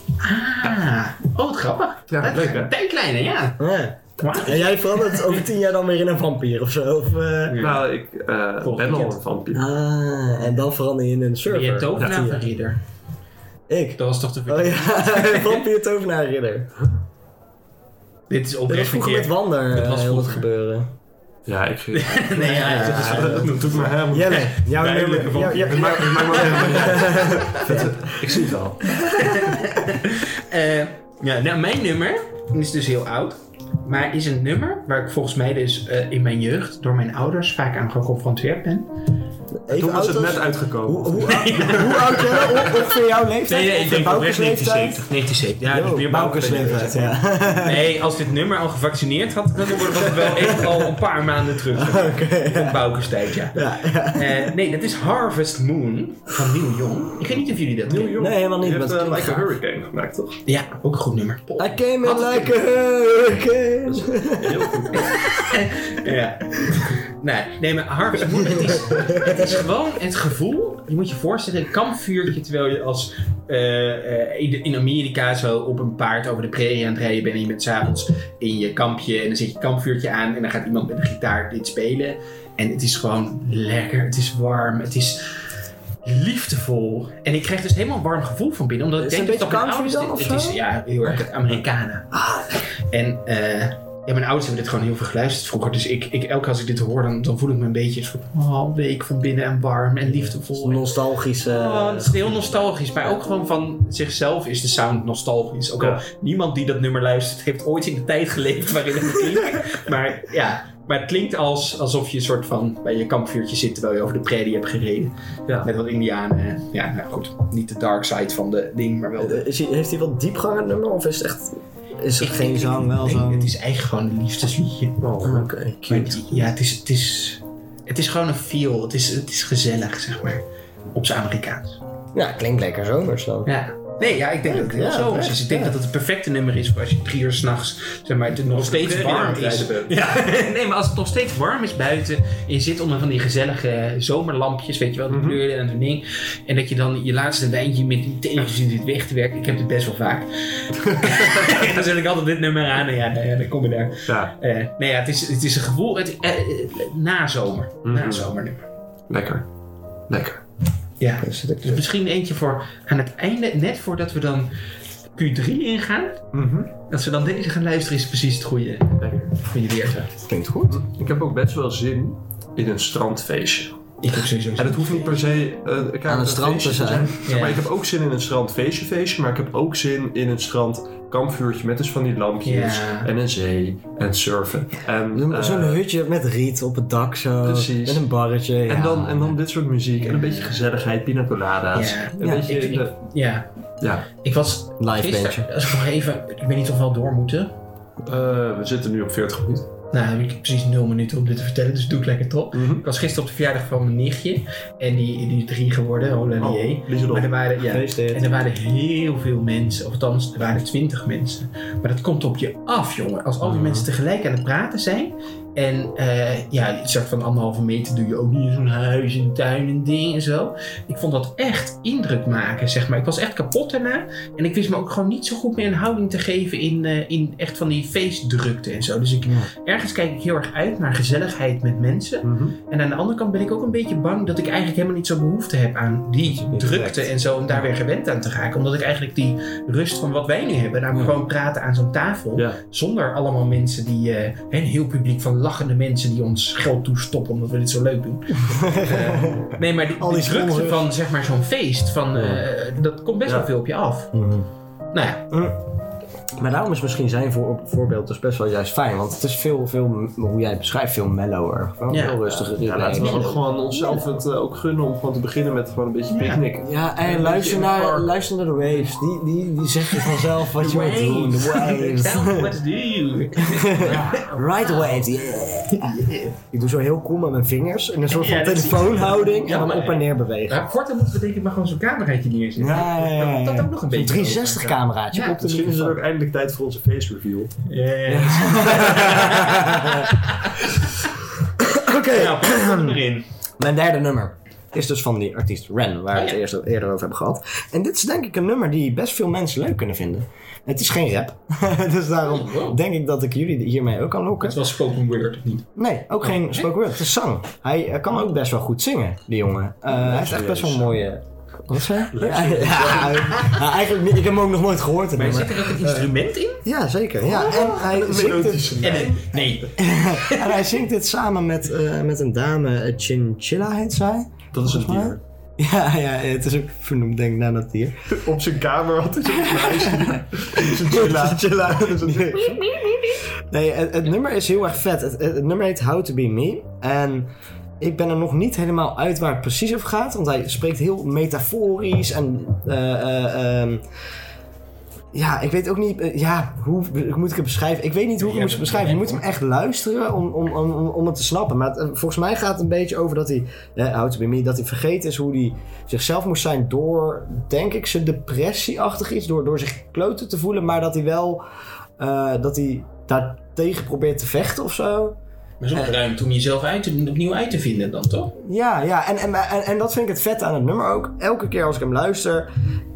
Speaker 1: Ah, oh wat grappig.
Speaker 3: Ja,
Speaker 1: Dat-
Speaker 3: leuk, hè?
Speaker 1: Tijdlijnen, ja.
Speaker 2: Ja.
Speaker 1: Wauw.
Speaker 2: En jij verandert over tien jaar dan weer in een vampier of zo? Of, eh,
Speaker 1: Ja.
Speaker 3: Nou, ik eh,
Speaker 1: Volgend
Speaker 3: ben al
Speaker 1: weekend.
Speaker 3: een vampier.
Speaker 2: Ah, en dan verander je in een
Speaker 1: Ben
Speaker 2: server.
Speaker 1: je tovenaar
Speaker 2: Ja.
Speaker 1: of ridder?
Speaker 2: Ik.
Speaker 1: Dat was toch de
Speaker 2: Oh ja, vampier tovenaar ridder.
Speaker 1: Dit is
Speaker 2: Dat was
Speaker 1: oprecht een
Speaker 2: vroeger met
Speaker 1: keer.
Speaker 2: Wander
Speaker 1: Dat was
Speaker 2: eh, heel wat
Speaker 1: vroeger.
Speaker 2: gebeuren.
Speaker 3: Ja, ik
Speaker 1: Nee, ja, ja,
Speaker 2: Ja.
Speaker 1: ja.
Speaker 3: dat noemt ook maar hem.
Speaker 2: Jelle, jouw
Speaker 1: Duidelijke
Speaker 2: nummer.
Speaker 1: vampier.
Speaker 2: Ja, ja,
Speaker 3: Het maakt het maakt me helemaal niet uit. Ik zie het al.
Speaker 1: Eh, ja, nou, mijn nummer is dus heel oud. Maar is een nummer waar ik volgens mij dus eh, in mijn jeugd door mijn ouders vaak aan geconfronteerd ben.
Speaker 2: even
Speaker 3: Toen was het
Speaker 2: auto's.
Speaker 3: net uitgekomen.
Speaker 2: Hoe, hoe, hoe oud jij bent? Hoe- Ongeveer jouw leeftijd? Of de Boukersleeftijd?
Speaker 1: 1970. Ja,
Speaker 2: Yo,
Speaker 1: dus meer
Speaker 2: Boukersleeftijd, ja.
Speaker 1: Nee, als dit nummer al gevaccineerd had, dan was het wel echt al een paar maanden terug. Van Boukerstijd, ja.
Speaker 2: Ja,
Speaker 1: Eh, nee, dat is Harvest Moon van Neil Young. Ik weet niet of jullie dat kennen.
Speaker 2: Nee, helemaal niet,
Speaker 3: Je hebt
Speaker 2: maar het
Speaker 3: eh,
Speaker 2: klinkt
Speaker 3: Like a
Speaker 2: gaaf.
Speaker 3: Hurricane gemaakt, toch?
Speaker 1: Ja, ook een goed nummer. Pop.
Speaker 2: I came in like a hurricane.
Speaker 3: Heel goed.
Speaker 1: Ja. Nee, nee, maar Harvest Moon, het is, het is gewoon het gevoel. Je moet je voorstellen, een kampvuurtje terwijl je als eh, eh, in- in Amerika zo op een paard over de prairie aan het rijden bent. En je bent s'avonds in je kampje en dan zet je een kampvuurtje aan en dan gaat iemand met een gitaar dit spelen. En het is gewoon lekker, het is warm, het is liefdevol. En ik krijg dus helemaal een warm gevoel van binnen. Omdat
Speaker 2: Is
Speaker 1: ik
Speaker 2: het
Speaker 1: denk
Speaker 2: een
Speaker 1: dat mijn
Speaker 2: beetje
Speaker 1: ouders
Speaker 2: country
Speaker 1: dit-
Speaker 2: dan
Speaker 1: het
Speaker 2: of
Speaker 1: is Ja, heel erg Amerikanen. En eh, ja, mijn ouders hebben dit gewoon heel veel geluisterd vroeger. Dus ik, ik, elke keer als ik dit hoor, dan, dan voel ik me een beetje soort, oh, week van binnen en warm en liefdevol. En-
Speaker 2: Nostalgische... eh,
Speaker 1: Oh, het is heel nostalgisch, maar ook gewoon van zichzelf is de sound nostalgisch. Ook al
Speaker 3: Ja.
Speaker 1: niemand die dat nummer luistert, heeft ooit in de tijd geleefd waarin het klinkt. maar ja, maar het klinkt als, alsof je een soort van bij je kampvuurtje zit terwijl je over de prairie hebt gereden.
Speaker 3: Ja.
Speaker 1: Met wat indianen. Ja, nou goed, niet de dark side van de ding, maar wel de...
Speaker 2: Eh, is hij- heeft hij wel diepgang in het nummer of is het echt... Is het
Speaker 1: Ik
Speaker 2: geen
Speaker 1: denk-
Speaker 2: zang, wel
Speaker 1: nee,
Speaker 2: zang?
Speaker 1: Het is eigenlijk gewoon een liefdesliedje.
Speaker 2: Oh, Oké,
Speaker 1: Maar
Speaker 2: cute.
Speaker 1: het- ja, het is, het, is, het is gewoon een feel. Het is, het is gezellig, zeg maar. Op zijn Amerikaans.
Speaker 2: Ja, klinkt lekker zomers dan.
Speaker 1: Ja. Nee, ja, ik denk dat het heel
Speaker 2: Ja,
Speaker 1: zo is. Dus
Speaker 2: echt,
Speaker 1: ik denk
Speaker 2: ja.
Speaker 1: dat het het perfecte nummer is voor als je drie uur s'nachts, zeg maar, het nog steeds
Speaker 3: prairie aan
Speaker 1: warm
Speaker 3: het
Speaker 1: is.
Speaker 3: rijden
Speaker 1: Ja, nee, maar als het nog steeds warm is buiten en je zit onder van die gezellige zomerlampjes, weet je wel, de kleuren en zo'n ding. En dat je dan je laatste wijntje met die tegenzin zit weg te werken. Ik heb dit best wel vaak. dan zet ik altijd dit nummer aan en ja, eh, dan kom je daar.
Speaker 3: Ja,
Speaker 1: Eh, nee, ja, het is, het is een gevoel, het, eh, eh, nazomer.
Speaker 3: Mhm.
Speaker 1: Nazomernummer.
Speaker 3: lekker. Lekker.
Speaker 1: Ja.
Speaker 2: Dan zit ik
Speaker 1: Dus misschien eentje voor aan het einde, net voordat we dan Q3 ingaan. Dat ze dan deze gaan luisteren is precies het goede,
Speaker 3: Mhm. Lekker.
Speaker 1: goede weerta.
Speaker 2: Klinkt goed.
Speaker 3: Ik heb ook best wel zin in een strandfeestje.
Speaker 1: Ik heb sowieso
Speaker 3: En dat hoeft niet per se eh, een kamer-
Speaker 2: Aan het
Speaker 3: een
Speaker 2: strand te
Speaker 3: feestje
Speaker 2: zijn.
Speaker 3: Ja,
Speaker 1: Ja.
Speaker 3: Maar ik heb ook zin in een strandfeestje feestje, maar ik heb ook zin in een strandkampvuurtje met dus van die lampjes
Speaker 1: Ja.
Speaker 3: en een zee en surfen. En,
Speaker 2: Zo'n
Speaker 3: eh,
Speaker 2: zo'n hutje met riet op het dak zo.
Speaker 3: Precies.
Speaker 2: Met een barretje. ja.
Speaker 3: en, dan, en dan dit soort muziek en een
Speaker 1: Ja.
Speaker 3: beetje gezelligheid, pina colada's.
Speaker 1: Ja.
Speaker 3: Een
Speaker 2: Ja,
Speaker 3: beetje
Speaker 1: ik- ik-
Speaker 3: de-
Speaker 1: Ja,
Speaker 3: ja.
Speaker 1: ik was
Speaker 2: Live bandje.
Speaker 1: gisteren, als ik nog even, ik weet niet of we al door moeten.
Speaker 3: Eh, we zitten nu op 40 minuten.
Speaker 1: Nou, heb ik precies nul minuten om dit te vertellen, dus doe ik lekker top.
Speaker 3: Mhm.
Speaker 1: Ik was gisteren op de verjaardag van mijn nichtje en die, die is drie geworden, Hollelier.
Speaker 3: Oh, Lieselot.
Speaker 1: Maar er waren, ja,
Speaker 2: Gefeliciteerd.
Speaker 1: en er waren heel veel mensen, of althans, er waren twintig mensen. Maar dat komt op je af, jongen. Als al die
Speaker 3: Mhm.
Speaker 1: mensen tegelijk aan het praten zijn. En eh ja, een soort van anderhalve meter doe je ook niet in zo'n huis, in de tuin en ding en zo. Ik vond dat echt indruk maken, zeg maar. Ik was echt kapot daarna. En ik wist me ook gewoon niet zo goed meer een houding te geven in, eh, in echt van die feestdrukte en zo. Dus ik, ergens kijk ik heel erg uit naar gezelligheid met mensen.
Speaker 3: Mhm.
Speaker 1: En aan de andere kant ben ik ook een beetje bang dat ik eigenlijk helemaal niet zo behoefte heb aan die
Speaker 2: Niet
Speaker 1: drukte
Speaker 2: direct.
Speaker 1: en zo om daar weer gewend aan te raken. Omdat ik eigenlijk die rust van wat wij nu hebben, namelijk
Speaker 2: Ja.
Speaker 1: gewoon praten aan zo'n tafel.
Speaker 3: Ja.
Speaker 1: Zonder allemaal mensen die, eh, een heel publiek van lachende mensen die ons geld toestoppen omdat we dit zo leuk doen. Eh, nee, maar die,
Speaker 2: Al die
Speaker 1: die drukte
Speaker 2: sponsors.
Speaker 1: van zeg maar zo'n feest, van, eh, dat komt best
Speaker 3: Ja.
Speaker 1: wel veel op je af.
Speaker 2: Mhm.
Speaker 1: Nou ja,
Speaker 2: Maar daarom is misschien zijn voor, voorbeeld dus best wel juist fijn. Want het is veel, veel hoe jij het beschrijft, veel mellower. Gewoon
Speaker 1: Ja.
Speaker 2: veel rustiger.
Speaker 3: Ja, laten we
Speaker 2: relaxed.
Speaker 3: Nou, ook gewoon onszelf het eh, ook gunnen om gewoon te beginnen met gewoon een beetje
Speaker 1: Ja.
Speaker 3: picknicken.
Speaker 2: Ja,
Speaker 3: Een
Speaker 2: en
Speaker 3: beetje
Speaker 2: luister
Speaker 3: in het
Speaker 2: naar,
Speaker 3: park.
Speaker 2: luister naar de waves. Die, die, die zeggen vanzelf wat je moet doen. De waves.
Speaker 1: Let's do.
Speaker 2: Right waves, yeah. Ik doe zo heel cool met mijn vingers. In een soort van
Speaker 1: Ja, dat zie ik.
Speaker 2: telefoonhouding.
Speaker 1: Ja,
Speaker 2: en dan
Speaker 1: maar-
Speaker 2: op en neer bewegen.
Speaker 1: Ja, Korter moeten we denk ik maar gewoon zo'n cameraatje neerzetten.
Speaker 2: Ja, ja, ja, ja.
Speaker 1: Dat ook nog een beetje.
Speaker 2: Zo'n 360 cameraatje
Speaker 1: Ja,
Speaker 2: op de
Speaker 3: Misschien is het
Speaker 2: microfoon.
Speaker 3: ook eindelijk tijd voor onze face reveal.
Speaker 1: Ja.
Speaker 2: Oké,
Speaker 1: Ja, pak hem erin.
Speaker 2: mijn derde nummer is dus van die artiest Ren, waar we
Speaker 1: Oh,
Speaker 2: het
Speaker 1: ja.
Speaker 2: eerst, eerder over hebben gehad. En dit is denk ik een nummer die best veel mensen leuk kunnen vinden. Het is geen rap, dus daarom
Speaker 1: Oh, wow.
Speaker 2: denk ik dat ik jullie hiermee ook kan
Speaker 1: Het
Speaker 2: lokken.
Speaker 1: was spoken word, of niet?
Speaker 2: Nee, ook geen
Speaker 1: nee?
Speaker 2: spoken word, het is zang. Hij eh, kan ook best wel goed zingen, die jongen. Eh, hij heeft echt best wel een mooie... Wat zei je? Ja, ja, eigenlijk niet. Ik heb hem ook nog nooit gehoord. het
Speaker 1: Maar
Speaker 2: nummer.
Speaker 1: zit er ook een instrument in?
Speaker 2: Ja, zeker. Ja. En
Speaker 1: Oh,
Speaker 2: hij zingt het
Speaker 1: En, nee.
Speaker 2: En hij zingt dit samen met, eh, met een dame, eh, Chinchilla heet zij.
Speaker 3: Dat is een
Speaker 2: Volgens
Speaker 3: dier.
Speaker 2: Ja, ja, het is ook vernoemd denk ik naar dat dier.
Speaker 3: Op zijn kamer had hij zo'n meisje. Zo'n chilla.
Speaker 2: Chinchilla. nee, het, het nummer is heel erg vet. Het, het- het nummer heet How To Be Me. En ik ben er nog niet helemaal uit waar het precies over gaat. Want hij spreekt heel metaforisch en... eh, eh, ehm, ja, ik weet ook niet... eh, ja, hoe be- moet ik het beschrijven? Ik weet niet hoe ik
Speaker 1: Ja,
Speaker 2: het moet
Speaker 1: dat-
Speaker 2: beschrijven. Je moet hem echt luisteren om, om, om, om, om het te snappen. Maar het, eh, volgens mij gaat het een beetje over dat hij... eh, How to be me, dat hij vergeten is hoe hij zichzelf moest zijn door, denk ik, zijn depressieachtig iets. Door, door zich kloten te voelen. Maar dat hij wel... eh, dat hij daartegen probeert te vechten of zo.
Speaker 1: Maar zo'n ruimte om jezelf uit te, opnieuw uit te vinden dan, toch?
Speaker 2: Ja, ja. En, en, en, en dat vind ik het vet aan het nummer ook. Elke keer als ik hem luister,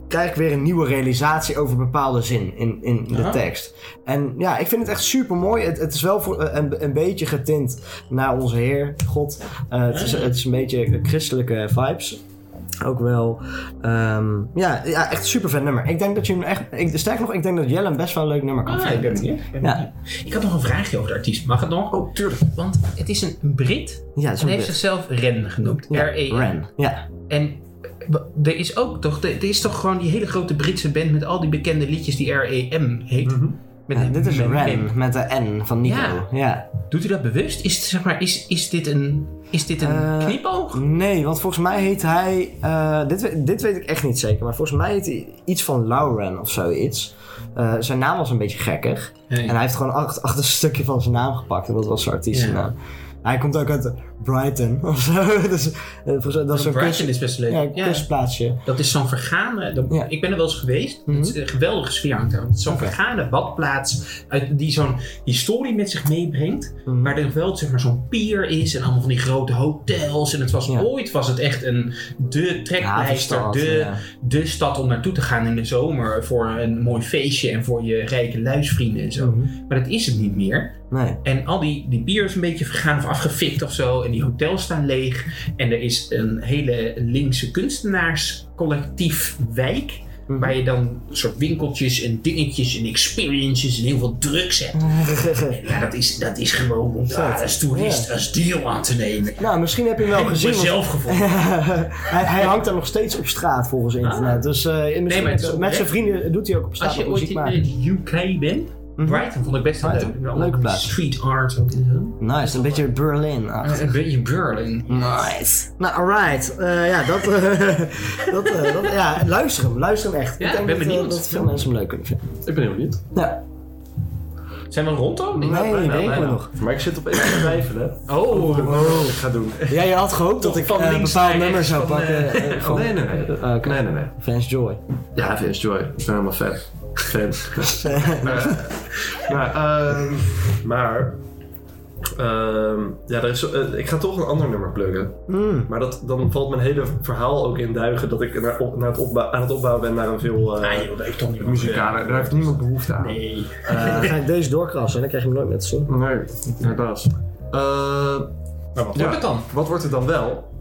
Speaker 2: krijg ik weer een nieuwe realisatie over bepaalde zin in, in de
Speaker 1: Aha.
Speaker 2: tekst. En ja, ik vind het echt super mooi. Het, het is wel voor, eh, een, een beetje getint naar onze Heer, God. Eh, het, is, het is een beetje christelijke vibes. Ook wel. ehm, ja, ja, echt super vet nummer. Ik denk dat je hem echt. Ik, sterk nog, ik denk dat Jelle hem best wel een leuk nummer kan
Speaker 1: Ah, ik
Speaker 2: vinden.
Speaker 1: ben benieuwd. Ik ben
Speaker 2: Ja.
Speaker 1: benieuwd. Ik had nog een vraagje over de artiest. Mag het nog?
Speaker 2: Oh, tuurlijk.
Speaker 1: Want het is een Brit.
Speaker 2: Ja, het is
Speaker 1: Ze
Speaker 2: een
Speaker 1: heeft
Speaker 2: Brit.
Speaker 1: zichzelf Ren genoemd.
Speaker 2: Ja,
Speaker 1: R-E-N.
Speaker 2: Ren. Ja.
Speaker 1: En eh, er is ook toch, er is toch gewoon die hele grote Britse band met al die bekende liedjes die R.E.M. heet. Met,
Speaker 2: Ja, dit is
Speaker 1: met-
Speaker 2: Ren
Speaker 1: met-
Speaker 2: met de N van Nico.
Speaker 1: Ja.
Speaker 2: ja.
Speaker 1: Doet u dat bewust? Is, het, zeg maar, is, is dit een, is dit een
Speaker 2: Eh,
Speaker 1: knipoog?
Speaker 2: Nee, want volgens mij heet hij. eh, dit, we- dit weet ik echt niet zeker, maar volgens mij heet hij iets van Lauren of zoiets. Eh, zijn naam was een beetje gekker. En hij heeft gewoon ach- achter een stukje van zijn naam gepakt. En dat was zijn artiestennaam. Hij komt ook uit Brighton of zo. Dus, eh, volgens mij- dat is zo'n
Speaker 1: Brighton
Speaker 2: kust,
Speaker 1: is best leuk.
Speaker 2: ja,
Speaker 1: Ja,
Speaker 2: een kustplaatsje.
Speaker 1: Dat is zo'n vergane. dat-
Speaker 2: Ja. Mhm.
Speaker 1: Ik ben er wel eens geweest. Het is een geweldige sfeer hangt daar. Het is Zo'n vergane badplaats uit, die zo'n historie met zich meebrengt.
Speaker 2: Mhm.
Speaker 1: Waar er wel zeg maar, zo'n pier is en allemaal van die grote hotels. En het was
Speaker 2: Ja.
Speaker 1: ooit was het echt een de trekpleister,
Speaker 2: Havenstad,
Speaker 1: de,
Speaker 2: ja.
Speaker 1: de stad om naartoe te gaan in de zomer voor een mooi feestje en voor je rijke luisvrienden en zo.
Speaker 2: Mhm.
Speaker 1: Maar dat is het niet meer.
Speaker 2: Nee.
Speaker 1: En al die, die bier is een beetje vergaan of afgefikt of zo. En die hotels staan leeg. En er is een hele linkse kunstenaarscollectief wijk.
Speaker 2: Mhm.
Speaker 1: Waar je dan soort winkeltjes en dingetjes en experiences en heel veel drugs hebt. Ja, dat is, dat is gewoon om daar
Speaker 2: Mhm. Vet.
Speaker 1: als toerist
Speaker 2: Ja.
Speaker 1: als deal aan te nemen.
Speaker 2: nou, misschien heb je hem wel
Speaker 1: Ik heb
Speaker 2: gezien. want-
Speaker 1: mezelf gevonden.
Speaker 2: hij, hij hangt daar nog steeds op straat volgens internet. Dus eh, misschien
Speaker 1: Ah. maar het is
Speaker 2: met- met
Speaker 1: oprecht.
Speaker 2: zijn vrienden doet hij ook op straat
Speaker 1: Als je
Speaker 2: ook
Speaker 1: ooit
Speaker 2: muziek
Speaker 1: in
Speaker 2: maken.
Speaker 1: de UK bent,
Speaker 2: Mhm.
Speaker 1: Brighton vond ik best wel
Speaker 2: Brighton,
Speaker 1: leuk. Allemaal
Speaker 2: leuke plaats.
Speaker 1: Street art ook en zo.
Speaker 2: Nice, een beetje Berlin. -achtig.
Speaker 1: Een beetje Berlin.
Speaker 2: Nice. Nou, alright. Eh, ja, dat, eh, dat, eh, dat- ja, luister hem. Luister hem echt.
Speaker 1: Ja,
Speaker 2: ik denk
Speaker 1: ik ben
Speaker 2: dat, eh,
Speaker 1: benieuwd.
Speaker 2: dat veel mensen hem leuk kunnen vinden. Nou,
Speaker 3: Ik ben heel benieuwd.
Speaker 2: Ja.
Speaker 1: Zijn we rond dan?
Speaker 2: Nee,
Speaker 3: bijna,
Speaker 2: denken we
Speaker 3: bijna.
Speaker 2: nog.
Speaker 3: Maar ik zit op één te twijfelen.
Speaker 1: Oh,
Speaker 3: Wat ik ga doen.
Speaker 2: Ja, je had gehoopt dat ik
Speaker 1: Van
Speaker 2: eh, een
Speaker 1: links
Speaker 2: bepaald
Speaker 1: naar
Speaker 2: nummer
Speaker 1: rechts,
Speaker 2: zou
Speaker 1: van,
Speaker 2: pakken
Speaker 1: eh,
Speaker 2: eh,
Speaker 3: Oh,
Speaker 2: van
Speaker 3: nee, nee, nee.
Speaker 2: Eh, oké.
Speaker 3: nee, nee, nee.
Speaker 2: Fans Joy.
Speaker 3: Ja, Vince Joy. Ik ben helemaal fan. Fan. maar, Nou, maar, ehm, maar ehm, ja, er is, eh, ik ga toch een ander nummer pluggen.
Speaker 2: Hmm.
Speaker 3: Maar dat, dan valt mijn hele verhaal ook in duigen dat ik naar, op, naar het opbou- aan het opbouwen ben naar een veel eh,
Speaker 1: Ah, joh, dat heeft toch niet wat.
Speaker 3: muzikale. Daar heeft niemand behoefte aan.
Speaker 1: Nee.
Speaker 2: Dan ga ik deze doorkrassen en dan krijg je hem nooit meer te zien.
Speaker 3: Nee, helaas. Eh,
Speaker 1: Maar wat
Speaker 3: Ja.
Speaker 1: wordt het dan?
Speaker 3: wat wordt het dan wel?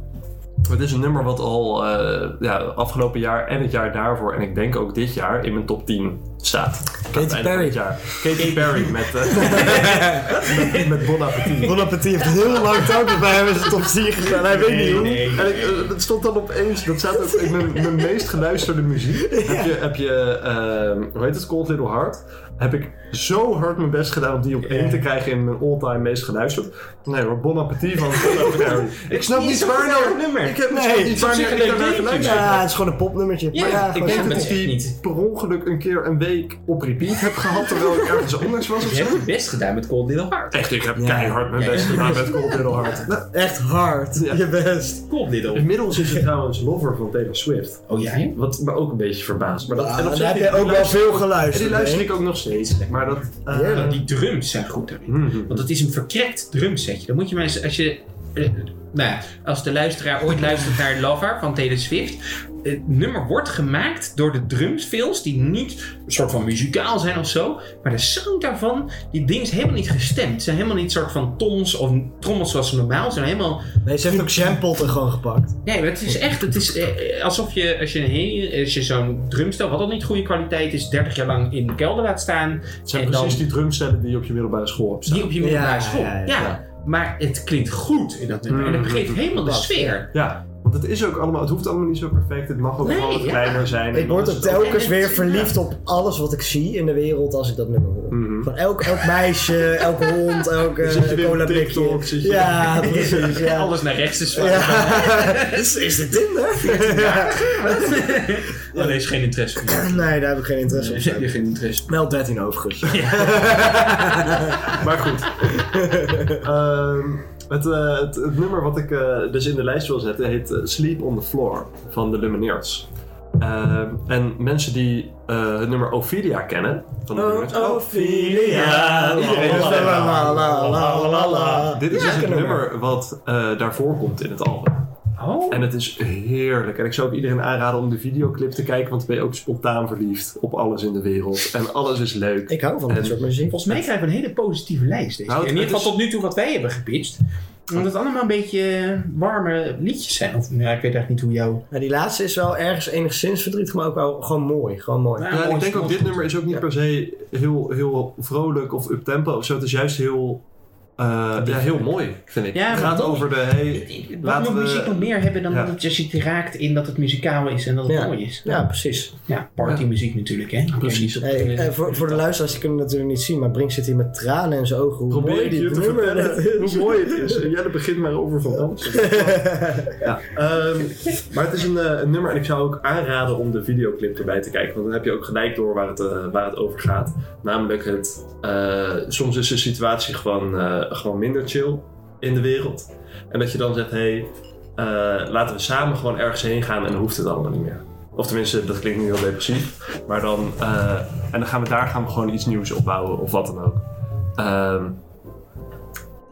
Speaker 3: Het is een nummer wat al eh, ja, afgelopen jaar en het jaar daarvoor en ik denk ook dit jaar in mijn top 10 staat. Aan het einde van
Speaker 2: Perry.
Speaker 3: het jaar. Katy Perry met, eh, met, met Bon Appetit.
Speaker 2: Bon Appetit heeft heel lang touwtje bij hem in zijn top 10 gestaan. Hij weet niet hoe.
Speaker 1: nee.
Speaker 3: En nou, ik, eh, dat stond dan opeens, dat staat ook in mijn, mijn meest geluisterde muziek. Heb je, heb je ehm, hoe heet het, Cold Little Heart? Heb ik zo hard mijn best gedaan om die op één te krijgen in mijn all-time meest geluisterd. Nee hoor, Bon Appetit van Bon Appetit. Ik snap
Speaker 1: Niet
Speaker 3: niet
Speaker 1: zo'n
Speaker 3: waar
Speaker 1: raar
Speaker 3: nou...
Speaker 1: nummer.
Speaker 3: Ik heb
Speaker 2: Nee,
Speaker 3: nee,
Speaker 2: het
Speaker 3: niet
Speaker 1: is
Speaker 3: waar
Speaker 1: op zich
Speaker 3: naar-
Speaker 1: een
Speaker 3: ik heb
Speaker 1: leuk
Speaker 3: naar
Speaker 1: dingetje.
Speaker 3: geluisterd.
Speaker 2: Ja, het is gewoon een popnummertje.
Speaker 1: Ja,
Speaker 2: Maar ja,
Speaker 1: ik
Speaker 2: gewoon
Speaker 1: denk
Speaker 2: zo.
Speaker 1: het
Speaker 3: Dat ik die
Speaker 1: niet.
Speaker 3: per ongeluk een keer een week op repeat heb gehad terwijl ik ergens anders was of
Speaker 1: Je
Speaker 3: zo.
Speaker 1: hebt het best gedaan met Cold Little Heart.
Speaker 3: Echt, ik heb
Speaker 2: Ja.
Speaker 3: keihard mijn best gedaan met Cold Little Heart.
Speaker 2: Echt hard.
Speaker 3: Ja.
Speaker 2: Je best.
Speaker 1: Cold Little.
Speaker 3: Inmiddels is hij trouwens lover van Taylor Swift.
Speaker 1: Oh jij?
Speaker 3: Wat me ook een beetje verbaast. Maar dat,
Speaker 2: Ja,
Speaker 3: en op
Speaker 2: daar
Speaker 3: zich-
Speaker 2: Ah, heb je ook wel
Speaker 3: luister-
Speaker 2: veel
Speaker 3: En die
Speaker 2: geluisterd.
Speaker 3: luister
Speaker 2: hè?
Speaker 3: ik ook nog steeds. Maar dat... eh,
Speaker 2: Heerlijk.
Speaker 1: Die drums zijn goed daarin.
Speaker 3: mhm.
Speaker 1: Want het is een verkrekt drumsetje. Dan moet je maar eens, als je... eh, nou ja, als de luisteraar ooit luistert naar Lover van Taylor Swift... Het nummer wordt gemaakt door de drumsfills die niet een soort van muzikaal zijn of zo. Maar de sound daarvan, die ding is helemaal niet gestemd. Het zijn helemaal niet soort van tons of trommels zoals ze normaal zijn. Helemaal
Speaker 2: Nee, ze heeft ook samplet er gewoon gepakt.
Speaker 1: Nee, maar het is echt, het is eh, eh, alsof je, als je, een hele- als je zo'n drumstel, wat al niet goede kwaliteit is, 30 jaar lang in de kelder laat staan.
Speaker 3: Het zijn
Speaker 1: en dan-
Speaker 3: precies die drumstellen die je op je middelbare school hebt staan.
Speaker 1: Die op je middelbare
Speaker 2: Ja,
Speaker 1: school.
Speaker 2: ja,
Speaker 1: Ja,
Speaker 2: ja, ja. Mm.
Speaker 1: maar het klinkt goed in dat nummer. En het geeft helemaal de
Speaker 2: Dat,
Speaker 1: sfeer.
Speaker 3: Ja, want het is ook allemaal... Het hoeft allemaal niet zo perfect. Het mag ook
Speaker 1: Nee,
Speaker 3: gewoon wat
Speaker 1: ja.
Speaker 3: kleiner zijn.
Speaker 2: Ik word
Speaker 3: dat
Speaker 2: ook
Speaker 3: is-
Speaker 2: telkens
Speaker 1: en-
Speaker 2: weer verliefd op alles wat ik zie in de wereld als ik dat nummer hoor.
Speaker 3: Mhm.
Speaker 2: Van elk, elk meisje, elk hond, elk
Speaker 3: Dan zit je weer
Speaker 2: eh
Speaker 3: op
Speaker 2: cola blikje.
Speaker 3: TikTok, zit je-
Speaker 2: Ja, precies. Ja.
Speaker 1: Alles naar rechts is van.
Speaker 2: Ja. Is, is dit Tinder?
Speaker 1: Oh, nee, is geen interesse. voor jou.
Speaker 2: Nee, daar heb ik geen interesse Oh,
Speaker 1: Nee,
Speaker 2: in.
Speaker 1: geen interesse.
Speaker 2: Wel 13 overigens.
Speaker 3: Maar goed. Ehm, het, eh, het, het nummer wat ik eh, dus in de lijst wil zetten heet eh, Sleep on the Floor van de Lumineers. Ehm, en mensen die eh, het nummer Ophelia kennen. Van de Lumineers-
Speaker 2: oh, Ophelia.
Speaker 3: Iedereen is fan.
Speaker 2: La, la, la, la, la, la.
Speaker 3: Dit is
Speaker 2: Ja,
Speaker 3: dus het
Speaker 2: lekker
Speaker 3: nummer wat eh, daarvoor komt in het album.
Speaker 1: Oh,
Speaker 3: En het is heerlijk. En ik zou ook iedereen aanraden om de videoclip te kijken, want dan ben je ook spontaan verliefd op alles in de wereld. En alles is leuk.
Speaker 2: Ik hou van dit soort muziek.
Speaker 1: volgens mij krijgen we een hele positieve lijst. Deze
Speaker 3: Nou,
Speaker 1: keer. In
Speaker 3: het
Speaker 1: ieder geval
Speaker 3: is-
Speaker 1: tot nu toe wat wij hebben gepitcht. Omdat het allemaal een beetje warme liedjes zijn. Of, nou, ik weet eigenlijk niet hoe jouw
Speaker 2: Maar die laatste is wel ergens enigszins verdrietig, maar ook wel gewoon mooi. Gewoon mooi.
Speaker 1: Ja,
Speaker 3: Ja,
Speaker 1: mooi
Speaker 3: Eh, ik denk ook dit
Speaker 1: spot.
Speaker 3: nummer is ook niet
Speaker 2: Ja.
Speaker 3: per se heel, heel vrolijk of uptempo of zo. Het is juist heel, eh, ja, heel mooi, vind ik.
Speaker 1: Ja,
Speaker 3: het
Speaker 1: maar
Speaker 3: gaat
Speaker 1: mooi.
Speaker 3: over de... Hey,
Speaker 1: Wat
Speaker 3: Laten
Speaker 1: moet
Speaker 3: we-
Speaker 2: eh,
Speaker 1: muziek nog meer hebben dan
Speaker 3: ja.
Speaker 1: dat het je het raakt in dat het muzikaal is en dat het
Speaker 2: Ja.
Speaker 1: mooi is?
Speaker 2: Ja, precies.
Speaker 1: Ja, partymuziek natuurlijk, hè?
Speaker 3: Precies.
Speaker 1: Oké,
Speaker 2: Hey,
Speaker 1: niet op-
Speaker 2: eh, voor, voor de luisteraars, die kunnen het natuurlijk niet zien, maar Brink zit hier met tranen in zijn ogen. Hoe
Speaker 3: probeer
Speaker 2: mooi
Speaker 3: ik
Speaker 2: die
Speaker 3: je te
Speaker 2: nummer
Speaker 3: vertellen
Speaker 2: dat is.
Speaker 3: hoe mooi het is. En jij begint maar over van alles. Ja, ehm, maar het is een, eh, een nummer en ik zou ook aanraden om de videoclip erbij te kijken. Want dan heb je ook gelijk door waar het, eh, waar het over gaat. Namelijk het... eh, soms is de situatie gewoon, eh, gewoon minder chill. in de wereld. En dat je dan zegt, hé, hey, eh, laten we samen gewoon ergens heen gaan en dan hoeft het allemaal niet meer. Of tenminste, dat klinkt nu heel depressief. Maar dan, eh, en dan gaan we daar gaan we gewoon iets nieuws opbouwen of wat dan ook. Ehm,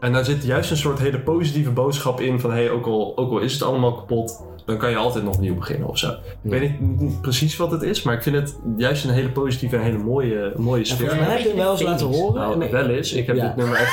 Speaker 3: en daar zit juist een soort hele positieve boodschap in van, hé, hey, ook, al, ook al is het allemaal kapot, dan kan je altijd nog opnieuw beginnen of zo. Ik weet niet, niet precies wat het is, maar ik vind het juist een hele positieve en hele mooie, mooie
Speaker 2: Ja,
Speaker 3: sfeer.
Speaker 2: volgens mij heb je hem wel eens laten horen.
Speaker 3: Nou,
Speaker 2: Nee.
Speaker 3: wel eens. Ik heb
Speaker 2: Ja.
Speaker 3: dit nummer echt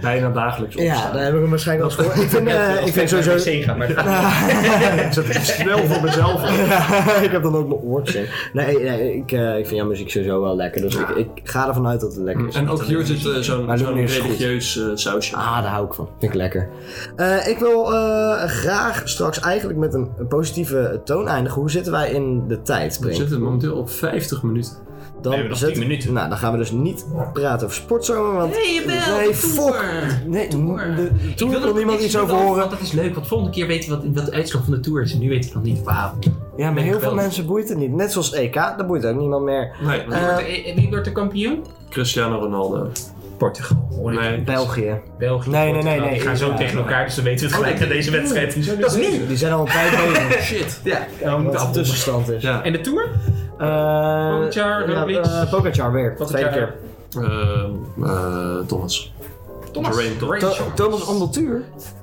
Speaker 3: bijna dagelijks
Speaker 2: Ja,
Speaker 3: opstaan.
Speaker 2: daar heb ik hem waarschijnlijk al eens gehoord. Ik vind, eh, ik vind sowieso...
Speaker 1: wc gaan, maar
Speaker 3: ik zet het snel voor mezelf op.
Speaker 2: ik heb dan ook mijn oortje. Nee, nee ik, eh, ik vind jouw muziek sowieso wel lekker, dus ik, ik ga ervan uit dat het lekker is.
Speaker 3: En ook hier zit eh,
Speaker 2: Maar
Speaker 3: zo'n
Speaker 2: doe
Speaker 3: zo'n
Speaker 2: nu eens goed.
Speaker 3: religieus eh, sausje.
Speaker 2: Ah, daar hou ik van. Vind ik lekker. Eh, ik wil eh, graag straks eigenlijk met een, een positieve toon eindigen. Hoe zitten wij in de tijd,
Speaker 3: We
Speaker 2: Brink?
Speaker 3: zitten momenteel op 50 minuten.
Speaker 2: Dan
Speaker 1: We hebben nog
Speaker 2: zet-
Speaker 1: 10 minuten.
Speaker 2: Nou, dan gaan we dus niet praten over sportzomer, want...
Speaker 4: Jawel,
Speaker 2: nee,
Speaker 4: de
Speaker 2: fuck!
Speaker 4: tour.
Speaker 2: Nee,
Speaker 4: Tour.
Speaker 2: de
Speaker 4: Ik
Speaker 2: tour
Speaker 4: er
Speaker 2: wil
Speaker 4: nog
Speaker 2: niemand
Speaker 4: niks
Speaker 2: iets over
Speaker 4: over,
Speaker 2: horen.
Speaker 4: want Dat is leuk, want volgende keer weten we wat, wat de uitslag van de tour is. En nu weten we nog niet. Wauw.
Speaker 2: Ja, maar heel veel
Speaker 4: geweldig.
Speaker 2: mensen boeit het niet. Net zoals EK, daar boeit ook niemand meer.
Speaker 3: Nee,
Speaker 4: Wie
Speaker 2: Eh,
Speaker 4: wordt de- eh, Wie wordt de kampioen?
Speaker 3: Cristiano Ronaldo.
Speaker 1: Portugal. hoor ik.
Speaker 3: Nee.
Speaker 2: België.
Speaker 1: België.
Speaker 2: Nee, nee, nee,
Speaker 1: Portugal,
Speaker 2: nee,
Speaker 1: Die gaan zo
Speaker 2: ja. Oh,
Speaker 1: tegen elkaar, dus dan weten we het gelijk aan deze wedstrijd. Dat is nu.
Speaker 2: Die zijn al een tijd bezig.
Speaker 3: Shit.
Speaker 1: Ja, we
Speaker 2: Wat
Speaker 1: moeten
Speaker 2: de
Speaker 1: aftussen.
Speaker 2: tussenstand is.
Speaker 3: Ja.
Speaker 1: En de Tour?
Speaker 2: Eh,
Speaker 1: Pogacar,
Speaker 2: ja,
Speaker 1: Roglic.
Speaker 2: eh, Pogacar weer.
Speaker 1: Pogacar.
Speaker 2: Tweede keer.
Speaker 3: Ehm, eh, Thomas.
Speaker 1: Thomas.
Speaker 3: Geraint Thomas.
Speaker 1: Geraint
Speaker 2: To-
Speaker 1: Thomas.
Speaker 2: Thomas Ondeltuur.
Speaker 3: Oh,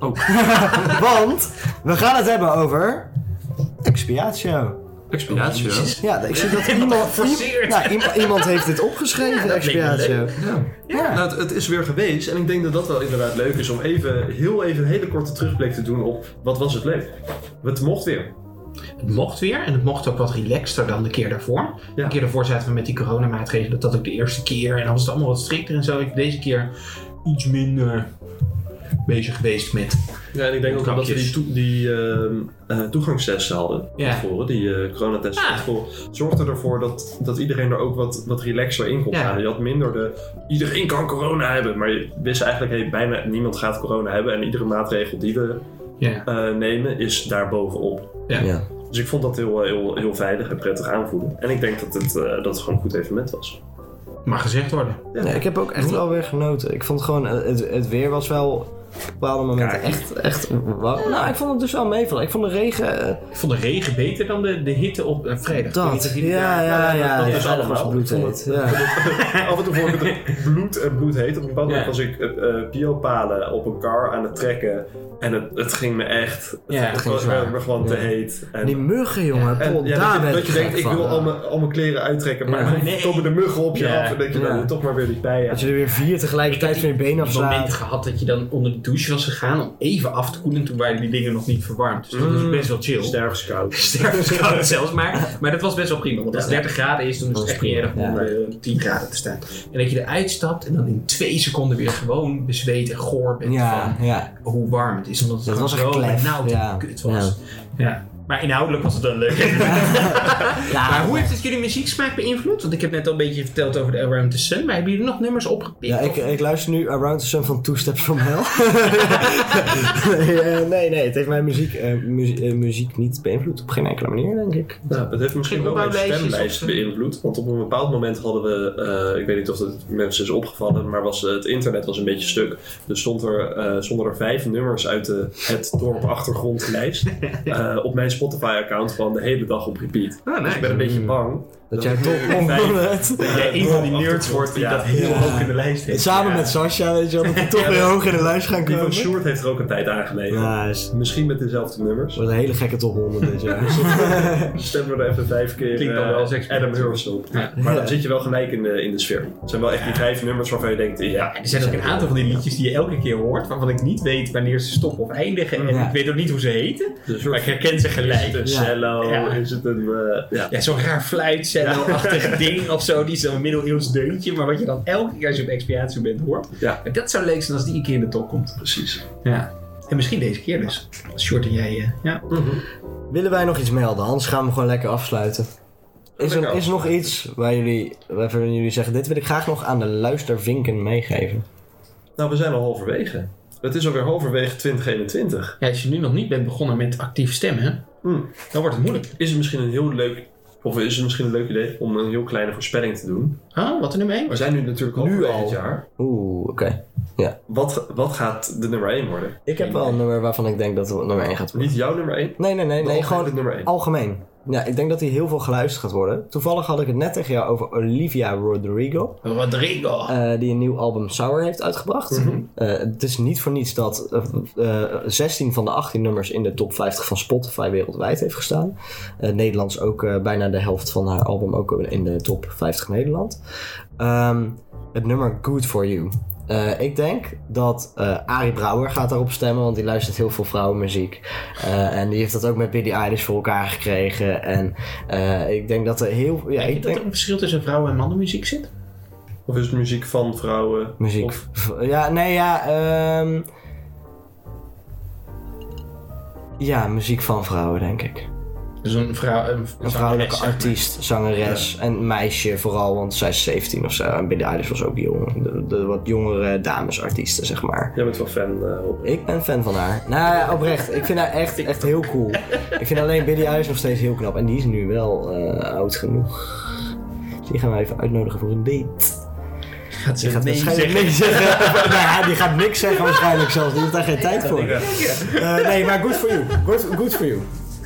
Speaker 2: Want we gaan het hebben over. Expiatio.
Speaker 3: expiatie. hè?
Speaker 2: Ja, ik zie dat iemand.
Speaker 1: Geforceerd.
Speaker 2: Nou, iemand, iemand heeft dit opgeschreven, Expiatio.
Speaker 3: Ja.
Speaker 2: Ja.
Speaker 3: Nou, het, het is weer geweest en ik denk dat dat wel inderdaad leuk is om even, heel even een hele korte terugblik te doen op wat was het leuk. Het mocht weer.
Speaker 1: Het mocht weer en het mocht ook wat relaxter dan de keer daarvoor.
Speaker 3: Ja.
Speaker 1: De keer daarvoor zaten we met die coronamaatregelen, dat dat ook de eerste keer en dan was het allemaal wat strikter en zo. Ik ben deze keer iets minder bezig geweest met.
Speaker 3: Ja, en ik denk ook omdat we die, toe- die ehm, eh, toegangstesten hadden
Speaker 1: Ja.
Speaker 3: van tevoren, die eh coronatesten van
Speaker 1: Ah.
Speaker 3: tevoren, zorgde ervoor dat, dat iedereen er ook wat, wat relaxer in kon
Speaker 1: Ja.
Speaker 3: gaan. Je had minder de, iedereen kan corona hebben, maar je wist eigenlijk, hey, bijna niemand gaat corona hebben en iedere maatregel die we
Speaker 1: Ja.
Speaker 3: eh, nemen is daar bovenop.
Speaker 2: Ja.
Speaker 3: Dus ik vond dat heel, eh, heel, heel veilig en prettig aanvoelen. En ik denk dat het, eh, dat het gewoon een goed evenement was.
Speaker 1: Mag gezegd worden.
Speaker 2: Nee, ik heb ook echt wel weer genoten. Ik vond gewoon, eh, het, het weer was wel op bepaalde momenten
Speaker 3: Kijk.
Speaker 2: echt, echt wauw. Nou, ik vond het dus wel meevallen. Ik vond de regen, eh,
Speaker 1: Ik vond de regen beter dan de, de hitte op eh, vrijdag. Ik weet niet
Speaker 2: dat.
Speaker 1: of jullie
Speaker 2: Ja, ja,
Speaker 1: daar-
Speaker 2: ja.
Speaker 3: dat- dat
Speaker 2: ja,
Speaker 3: is
Speaker 2: ja,
Speaker 3: allemaal.
Speaker 2: was bloedheet. Ja.
Speaker 3: Af en toe vond ik het bloed en bloed heet. Op een bepaald moment
Speaker 1: Ja.
Speaker 3: was ik eh, eh, biopalen op een car aan het trekken. En het, het ging me echt...
Speaker 1: Ja, het
Speaker 3: het
Speaker 1: ging
Speaker 3: was
Speaker 1: zwaar.
Speaker 3: werd me gewoon te
Speaker 2: Ja.
Speaker 3: heet. En,
Speaker 2: Die muggen, jongen.
Speaker 3: en
Speaker 2: Paul,
Speaker 3: ja,
Speaker 2: daar
Speaker 3: dat je,
Speaker 2: ben
Speaker 3: dat
Speaker 2: ik
Speaker 3: je denkt,
Speaker 2: gek
Speaker 3: ik
Speaker 2: van.
Speaker 3: wil al mijn, al mijn kleren uittrekken. Maar
Speaker 2: Ja.
Speaker 3: dan
Speaker 1: Nee.
Speaker 3: komen de muggen op je
Speaker 1: Ja.
Speaker 3: af. En denk je, nou,
Speaker 2: Ja.
Speaker 3: toch maar weer die
Speaker 2: Dat
Speaker 3: bijen.
Speaker 2: je er weer vier tegelijkertijd van je benen
Speaker 1: een moment
Speaker 2: afslaat.
Speaker 1: gehad dat je dan onder de douche was gegaan om even af te koelen. Toen waren die dingen nog niet verwarmd. Dus dat was
Speaker 3: Mm.
Speaker 1: best wel chill.
Speaker 3: Sterfskoud.
Speaker 1: Stervenskoud zelfs maar. Maar dat was best wel prima. Want als het
Speaker 3: Ja.
Speaker 1: 30 graden is, dan is
Speaker 2: Dat
Speaker 1: het
Speaker 2: is
Speaker 1: echt niet
Speaker 2: prima,
Speaker 1: erg om onder eh, 10 graden te staan. En dat je eruit stapt en dan in twee seconden weer gewoon bezweet en goor bent
Speaker 2: Ja, ja.
Speaker 1: van hoe warm het is. Omdat het
Speaker 2: Dat was
Speaker 1: gewoon
Speaker 2: echt
Speaker 1: zo
Speaker 2: klef.
Speaker 1: benauwd en
Speaker 2: Ja.
Speaker 1: kut was. Ja. Maar inhoudelijk was het wel leuk. maar hoe heeft het jullie muzieksmaak beïnvloed? Want ik heb net al een beetje verteld over de Around the Sun. Maar hebben jullie nog nummers opgepikt?
Speaker 2: Ja, ik,
Speaker 1: Of-
Speaker 2: ik luister nu Around the Sun van Two Steps From Hell. nee, eh, nee, nee, het heeft mijn muziek, eh, muzie- eh, muziek niet beïnvloed. Op geen enkele manier, denk ik.
Speaker 3: Nou, dat heeft misschien wel mijn
Speaker 1: opbouwlijstjes
Speaker 3: stemlijst
Speaker 1: of zo.
Speaker 3: beïnvloed. Want op een bepaald moment hadden we, eh, ik weet niet of het mensen is opgevallen, maar was, eh, het internet was een beetje stuk. Dus stond er, eh, stonden er vijf nummers uit de het dorp achtergrondlijst eh, op mijn Spotify-account van de hele dag op repeat.
Speaker 1: Ah,
Speaker 3: Dus
Speaker 1: nice.
Speaker 3: ik ben een beetje bang. Eh,
Speaker 2: Dat jij toch
Speaker 1: Dat
Speaker 2: onbent.
Speaker 1: jij een van die nerds wordt die
Speaker 3: Ja.
Speaker 1: dat heel
Speaker 2: eh, Ja.
Speaker 1: hoog in de lijst heeft.
Speaker 2: Samen
Speaker 3: Ja.
Speaker 2: met Sasha, weet je wel, dat we toch weer hoog in de lijst gaan
Speaker 3: Die van
Speaker 2: komen.
Speaker 3: Sjoerd heeft er ook een tijd aangelegen.
Speaker 2: Ja, is-
Speaker 3: Misschien met dezelfde nummers.
Speaker 2: wordt een hele gekke top 100 dit jaar.
Speaker 3: Stemmen we er even vijf keer
Speaker 1: Klinkt dan wel
Speaker 3: eh,
Speaker 1: als experiment.
Speaker 3: Adam Hurst op.
Speaker 1: Ja.
Speaker 3: Maar
Speaker 2: Ja.
Speaker 3: dan zit je wel gelijk in de, in de sfeer. Het zijn wel echt die vijf nummers waarvan je denkt, ja,
Speaker 1: Er zijn ook een aantal van die liedjes die je elke keer hoort, waarvan ik niet weet wanneer ze stoppen of eindigen. En
Speaker 2: Ja.
Speaker 1: ik weet ook niet hoe ze heten,
Speaker 3: de soort
Speaker 1: maar ik herken ze
Speaker 3: Is
Speaker 1: gelijk.
Speaker 3: het een
Speaker 2: Ja.
Speaker 3: cello?
Speaker 1: Ja.
Speaker 3: Is het een... eh, ja.
Speaker 1: Ja, zo'n raar fluitcello-achtig ding of zo, die is dan een middeleeuws deuntje, maar wat je dan elke keer als je op expiatie bent hoort.
Speaker 3: Ja.
Speaker 1: En dat zou leuk zijn als die een keer in de top komt.
Speaker 3: precies.
Speaker 1: Ja. En misschien deze keer dus. Short en jij, eh, ja.
Speaker 3: Mhm.
Speaker 2: Willen wij nog iets melden? Anders gaan we gewoon lekker afsluiten. Is er,
Speaker 3: Lekker
Speaker 2: is er nog iets waar jullie, waarvan jullie zeggen, dit wil ik graag nog aan de luistervinken meegeven?
Speaker 3: Nou, we zijn al halverwege. Het is alweer halverwege 2021.
Speaker 1: ja. Als je nu nog niet bent begonnen met actief stemmen,
Speaker 3: Hm.
Speaker 1: Hmm. dan wordt het moeilijk.
Speaker 3: Is het misschien een heel leuk Of is het misschien een leuk idee om een heel kleine voorspelling te doen?
Speaker 1: Ah, wat een nummer 1?
Speaker 3: We zijn nu natuurlijk al
Speaker 2: Nu
Speaker 3: halverwege
Speaker 2: al.
Speaker 3: het jaar.
Speaker 2: Oeh, oké.
Speaker 3: Wat, wat gaat de nummer 1 worden?
Speaker 2: Ik heb wel een nummer waarvan ik denk dat het nummer 1 gaat worden.
Speaker 3: Niet jouw nummer 1?
Speaker 2: Nee, nee, nee, nee.
Speaker 3: het
Speaker 2: Gewoon
Speaker 3: nummer 1.
Speaker 2: algemeen. Ja, ik denk dat hij heel veel geluisterd gaat worden. Toevallig had ik het net tegen jou over Olivia Rodrigo.
Speaker 1: Rodrigo.
Speaker 2: eh, die een nieuw album Sour heeft uitgebracht.
Speaker 1: Mhm.
Speaker 2: Eh, het is niet voor niets dat eh, eh, 16 van de 18 nummers in de top 50 van Spotify wereldwijd heeft gestaan. Eh, Nederlands ook eh, bijna de helft van haar album ook in de top 50 Nederland. Ehm, het nummer Good For You. Eh, ik denk dat eh Arie Brouwer gaat daarop stemmen, want die luistert heel veel vrouwenmuziek. Eh, en die heeft dat ook met Billie Eilish voor elkaar gekregen. En eh, ik denk dat er heel... Ja,
Speaker 1: Denk je
Speaker 2: ik
Speaker 1: dat
Speaker 2: denk...
Speaker 1: er een verschil tussen vrouwen- en mannenmuziek zit?
Speaker 3: Of is het muziek van vrouwen?
Speaker 2: Muziek.
Speaker 3: Of-
Speaker 2: V- Ja, nee, ja. ehm Ja, muziek van vrouwen, denk ik.
Speaker 1: Dus een, vrouw, een,
Speaker 2: Een vrouwelijke
Speaker 1: zangeres, zeg maar.
Speaker 2: artiest, zangeres en meisje vooral, want zij is 17 of zo. En Billie Eilish was ook jong. De, de wat jongere damesartiesten, zeg maar.
Speaker 3: Jij bent wel fan, eh Rob.
Speaker 2: Ik ben fan van haar. Nou ja, oprecht. Ik vind haar echt, echt heel cool. Ik vind alleen Billie Eilish nog steeds heel knap. En die is nu wel eh, oud genoeg. Die gaan we even uitnodigen voor een date.
Speaker 1: Gaat ze
Speaker 2: Die gaat
Speaker 1: nee
Speaker 2: waarschijnlijk
Speaker 1: zeggen?
Speaker 2: niks zeggen. nou, die gaat niks zeggen waarschijnlijk zelfs. Die heeft daar geen tijd voor. Eh, nee, maar good for you. Good, good for you.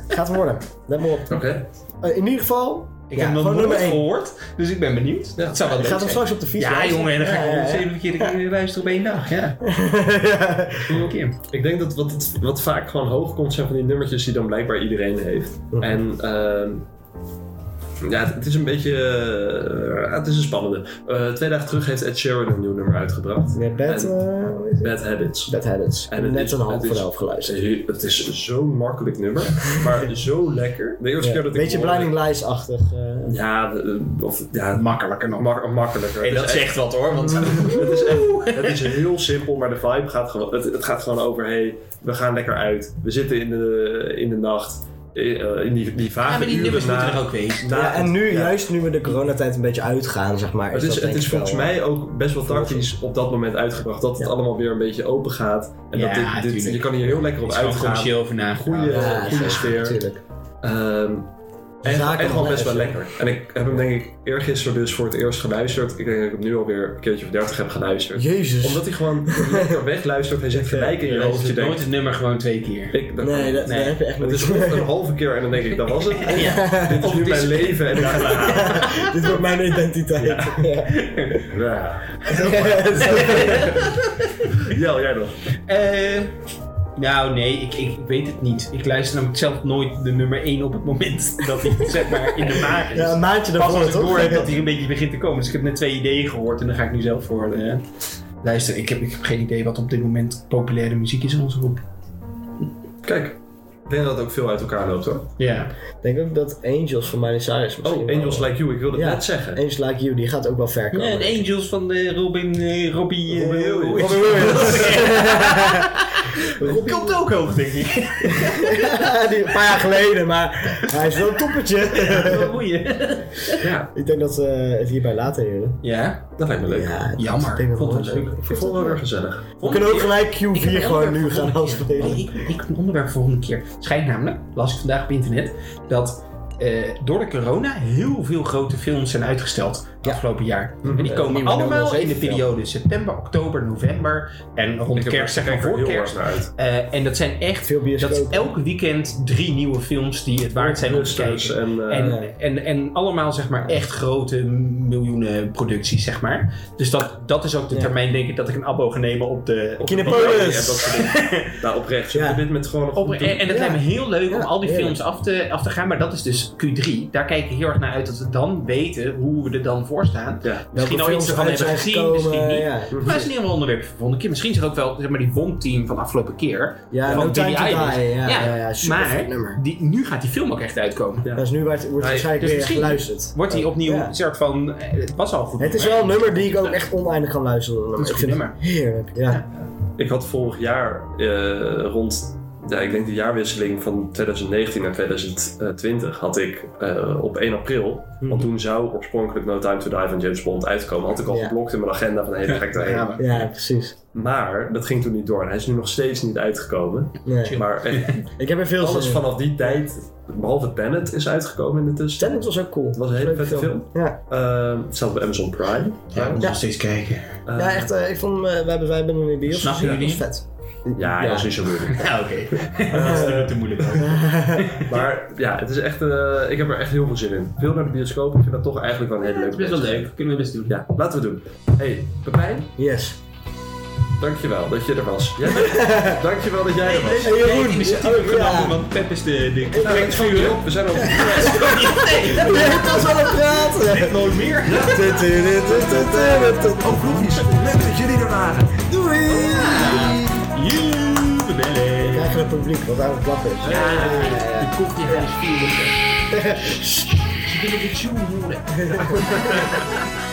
Speaker 2: Gaat worden. Let maar op.
Speaker 3: Oké.
Speaker 2: Eh, in ieder geval...
Speaker 1: Ik
Speaker 2: ja,
Speaker 1: heb nog
Speaker 2: gewoon
Speaker 1: nooit
Speaker 2: nummer één.
Speaker 1: gehoord, dus ik ben benieuwd. Dat zou wel
Speaker 2: Ik
Speaker 1: leuk
Speaker 2: ga hem
Speaker 1: zijn.
Speaker 2: straks op de fiets
Speaker 1: Ja,
Speaker 2: luisteren.
Speaker 1: jongen, en dan ga
Speaker 2: Ja,
Speaker 1: ik
Speaker 2: ja,
Speaker 1: de
Speaker 2: ja.
Speaker 1: zeven keer luisteren op één dag. Ja, Hoeveel keer.
Speaker 3: Ik denk dat wat, het, wat vaak gewoon hoog komt zijn van die nummertjes die dan blijkbaar iedereen heeft.
Speaker 2: Mhm.
Speaker 3: En ehm, ja, het, het is een beetje. eh, het is een spannende. Eh, twee dagen terug heeft Ed Sheeran een nieuw nummer uitgebracht.
Speaker 2: Met bed...
Speaker 3: En-
Speaker 2: eh, hoe heet het?
Speaker 3: Bad Habits.
Speaker 2: Bad Habits.
Speaker 3: En het
Speaker 2: Net
Speaker 3: is-
Speaker 2: een half
Speaker 3: het is-
Speaker 2: voor de helft geluisterd.
Speaker 3: Het is zo'n makkelijk nummer, maar zo lekker. De eerste
Speaker 2: Ja,
Speaker 3: keer dat ik
Speaker 2: Beetje
Speaker 3: hoorde-
Speaker 2: Blinding Lights-achtig. eh.
Speaker 3: Ja, de- of, ja
Speaker 1: Makkelijker nog.
Speaker 3: mak- makkelijker. Dus
Speaker 1: Hey,
Speaker 3: Het
Speaker 1: dat
Speaker 3: is echt-
Speaker 1: zegt wat hoor, want
Speaker 3: Het is, echt, het is heel simpel, maar de vibe gaat gewoon. Het, het gaat gewoon over: hey, we gaan lekker uit. We zitten in de, in de nacht. eh, In die, die
Speaker 1: ja,
Speaker 3: vage
Speaker 1: maar die
Speaker 3: uren
Speaker 1: nummers
Speaker 3: na-
Speaker 1: moeten er ook wezen.
Speaker 3: na-
Speaker 2: ja, en nu,
Speaker 3: ja.
Speaker 2: juist nu we de coronatijd een beetje uitgaan, zeg maar...
Speaker 3: Het is,
Speaker 2: dat
Speaker 3: het
Speaker 2: denk
Speaker 3: is
Speaker 2: ik
Speaker 3: volgens
Speaker 2: wel-
Speaker 3: mij ook best wel tactisch op dat moment uitgebracht. Dat het
Speaker 2: Ja.
Speaker 3: allemaal weer een beetje open gaat. En
Speaker 1: Ja,
Speaker 3: dat dit- dit,
Speaker 1: tuurlijk.
Speaker 3: je kan hier heel lekker op
Speaker 1: Er is gewoon
Speaker 3: uitgaan.
Speaker 1: gewoon chill over nagedacht.
Speaker 3: Goeie-
Speaker 2: Ja,
Speaker 3: goede
Speaker 2: ja,
Speaker 3: sfeer.
Speaker 2: natuurlijk.
Speaker 3: Ehm, en,
Speaker 2: Zaken
Speaker 3: en gewoon
Speaker 2: blijven.
Speaker 3: best wel lekker. En ik heb hem denk ik eergisteren dus voor het eerst geluisterd. Ik denk dat ik hem nu alweer een keertje of dertig heb geluisterd.
Speaker 2: Jezus.
Speaker 3: Omdat hij gewoon lekker wegluistert. Hij zit gelijk in je
Speaker 1: Je
Speaker 3: hoofd. Je
Speaker 1: luistert nooit
Speaker 3: denkt,
Speaker 1: het nummer gewoon twee keer.
Speaker 3: ik, dat-
Speaker 2: Nee, dat,
Speaker 1: Nee.
Speaker 2: daar heb je echt
Speaker 3: het
Speaker 2: moeite
Speaker 3: is
Speaker 2: mee.
Speaker 3: een halve keer en dan denk ik, dat was het.
Speaker 1: Ja.
Speaker 3: Dit is nu mijn leven. En ik ga
Speaker 2: Dit wordt mijn identiteit. Ja.
Speaker 3: Ja. Jel, jij nog.
Speaker 1: Eh, nou, nee, ik, ik weet het niet. Ik luister namelijk zelf nooit de nummer 1 op het moment dat hij zeg maar in de maak is.
Speaker 2: Ja, een maandje
Speaker 1: Pas
Speaker 2: daarvoor
Speaker 1: als ik
Speaker 2: toch?
Speaker 1: door heb dat hij een beetje begint te komen. Dus ik heb net twee ideeën gehoord en dan ga ik nu zelf voor eh, luisteren. Ik heb, ik heb geen idee wat op dit moment populaire muziek is in onze groep.
Speaker 3: Kijk, ik denk dat het ook veel uit elkaar loopt hoor.
Speaker 1: Ja.
Speaker 2: Ik denk ook dat Angels van Miley Cyrus misschien
Speaker 3: Oh,
Speaker 2: wel-
Speaker 3: Angels Like You, ik wilde het
Speaker 2: Ja.
Speaker 3: net zeggen.
Speaker 2: Angels Like You, die gaat ook wel ver komen.
Speaker 1: de Angels van eh, Robin, eh, Robbie... eh,
Speaker 3: Robin Williams.
Speaker 1: Robin Williams. Robbie komt ook over, denk ik.
Speaker 2: die, een paar jaar geleden, maar hij is wel een toppertje.
Speaker 1: Wat boeien.
Speaker 3: Ja,
Speaker 2: ik denk dat we het hierbij laten, heren.
Speaker 1: Ja,
Speaker 3: dat lijkt me leuk.
Speaker 2: Ja, ik
Speaker 1: jammer.
Speaker 2: denk dat
Speaker 1: Vond
Speaker 2: wel
Speaker 1: het
Speaker 2: leuk.
Speaker 1: leuk.
Speaker 2: Ik
Speaker 3: Ik vond
Speaker 2: vind
Speaker 3: het wel
Speaker 2: het
Speaker 3: weer
Speaker 2: leuk.
Speaker 3: gezelf.
Speaker 2: We kunnen ook gelijk
Speaker 1: Ik heb
Speaker 2: Q4
Speaker 1: een
Speaker 2: gewoon
Speaker 1: onderwerp
Speaker 2: nu
Speaker 1: voor
Speaker 2: gaan
Speaker 1: volgende keer.
Speaker 2: afspelen.
Speaker 1: Nee, ik, ik heb een onderwerp voor volgende keer. Schijnt namelijk, las ik vandaag op internet, dat eh, door de corona heel veel grote films zijn uitgesteld
Speaker 2: Ja.
Speaker 1: afgelopen jaar. En die
Speaker 2: Eh,
Speaker 1: komen
Speaker 2: niemand wil
Speaker 1: allemaal
Speaker 2: wel
Speaker 1: in de
Speaker 2: zeven
Speaker 1: periode september, oktober, november en rond
Speaker 3: heb-
Speaker 1: kerst, zeg maar
Speaker 3: kijk er
Speaker 1: voor
Speaker 3: heel
Speaker 1: kerst.
Speaker 3: erg naar uit.
Speaker 1: Eh, en dat zijn echt,
Speaker 2: Veel
Speaker 1: dat
Speaker 2: bioscopen.
Speaker 1: is elk weekend drie nieuwe films die het waard zijn om te
Speaker 3: Monsters
Speaker 1: kijken.
Speaker 3: en, eh,
Speaker 1: En,
Speaker 2: Ja.
Speaker 1: en, en allemaal zeg maar echt grote miljoenen producties, zeg maar. Dus dat, dat is ook de
Speaker 2: Ja.
Speaker 1: termijn, denk ik, dat ik een abo ga nemen op de... op de-
Speaker 2: Kinepolis.
Speaker 3: en dat soort dingen. nou, oprecht. Ze
Speaker 2: Ja.
Speaker 3: hebben dit met gewoon nog
Speaker 1: Op,
Speaker 3: goed doen.
Speaker 1: en, en dat
Speaker 2: Ja.
Speaker 1: lijkt me heel leuk om
Speaker 2: Ja,
Speaker 1: al die
Speaker 2: heerlijk.
Speaker 1: films af te, af te gaan. Maar dat is dus Q3. Daar kijken we heel erg naar uit dat we dan weten hoe we er dan voor staan.
Speaker 3: Ja.
Speaker 1: Misschien al
Speaker 2: Welke
Speaker 1: iets
Speaker 2: films
Speaker 1: ervan
Speaker 2: uit
Speaker 1: hebben
Speaker 2: zijn
Speaker 1: gezien,
Speaker 2: gekomen,
Speaker 1: misschien niet.
Speaker 2: Ja,
Speaker 1: Maar dat is een heel onderwerp voor de volgende keer. Misschien is er ook wel zeg maar, die bomteam van de afgelopen keer.
Speaker 2: ja
Speaker 1: van
Speaker 2: No Time
Speaker 1: Billie
Speaker 2: to
Speaker 1: Eilish.
Speaker 2: Die. Ja,
Speaker 1: Ja,
Speaker 2: ja, ja, super vet nummer.
Speaker 1: Maar die, nu gaat die film ook echt uitkomen.
Speaker 3: Ja.
Speaker 2: Dat is nu waar het- wordt
Speaker 3: Hij-
Speaker 2: waarschijnlijk
Speaker 1: dus
Speaker 2: weer
Speaker 1: misschien
Speaker 2: geluisterd.
Speaker 1: Wordt die opnieuw
Speaker 2: Ja.
Speaker 1: een soort van... eh, Het was al een goed.
Speaker 2: Het is wel een nummer die ik ook echt oneindig kan luisteren.
Speaker 1: Dat is
Speaker 2: Ik
Speaker 1: een goed
Speaker 2: vind het Heerlijk, ja.
Speaker 3: Ik had vorig jaar eh, rond ja, ik denk de jaarwisseling van 2019 naar 2020 had ik eh, op 1 april. Want toen zou oorspronkelijk No Time to Die van James Bond uitkomen. Had ik al
Speaker 2: Ja.
Speaker 3: geblokt in mijn agenda van hé, daar ga ik daarheen.
Speaker 1: Ja,
Speaker 2: Ja, precies.
Speaker 3: Maar dat ging toen niet door en hij is nu nog steeds niet uitgekomen.
Speaker 2: Nee.
Speaker 3: Maar echt,
Speaker 2: Ik heb er veel zin
Speaker 3: alles
Speaker 2: in.
Speaker 3: vanaf die tijd, behalve Tenet, is uitgekomen in de tussentijd.
Speaker 2: Tenet was ook cool.
Speaker 3: Het was een hele
Speaker 2: Leuke
Speaker 3: vette film.
Speaker 2: Ja.
Speaker 3: Eh, het staat bij Amazon Prime.
Speaker 1: ja, moet
Speaker 2: Ja.
Speaker 1: nog steeds kijken.
Speaker 3: Eh,
Speaker 2: ja, echt. eh, ik vond, hem, eh, wij hebben, wij hebben hem in de bios
Speaker 1: Snappen
Speaker 2: gezien,
Speaker 1: jullie?
Speaker 2: Dat was vet.
Speaker 3: Ja, dat is niet zo moeilijk.
Speaker 1: Ja, oké. dat is natuurlijk te moeilijk.
Speaker 3: Maar ja, het is echt, eh, ik heb er echt heel veel zin in. Veel naar de bioscoop, ik vind dat toch eigenlijk wel een hele
Speaker 4: Dat is
Speaker 3: leuke
Speaker 4: best wel
Speaker 3: plek.
Speaker 4: leuk. Kunnen we best doen.
Speaker 3: Ja, laten we het doen. hey, Pepijn,
Speaker 2: Yes.
Speaker 3: dankjewel dat je er was. Jij bent- dankjewel dat jij er was.
Speaker 2: Hey, Jeroen.
Speaker 1: Nee, die zit
Speaker 2: Oh,
Speaker 1: ook
Speaker 2: ja.
Speaker 1: ja. want Pep is de... de
Speaker 3: Nou, ik vang je op, we zijn al...
Speaker 2: Je hebt ons aan het praten.
Speaker 1: nooit meer.
Speaker 3: Oh, vloekjes, leuk dat jullie er waren.
Speaker 2: Doei!
Speaker 1: Jubilee.
Speaker 2: We krijgen het publiek, wat aan het klappen is.
Speaker 4: De koffie gaat vier minuten. Ze willen de tune horen.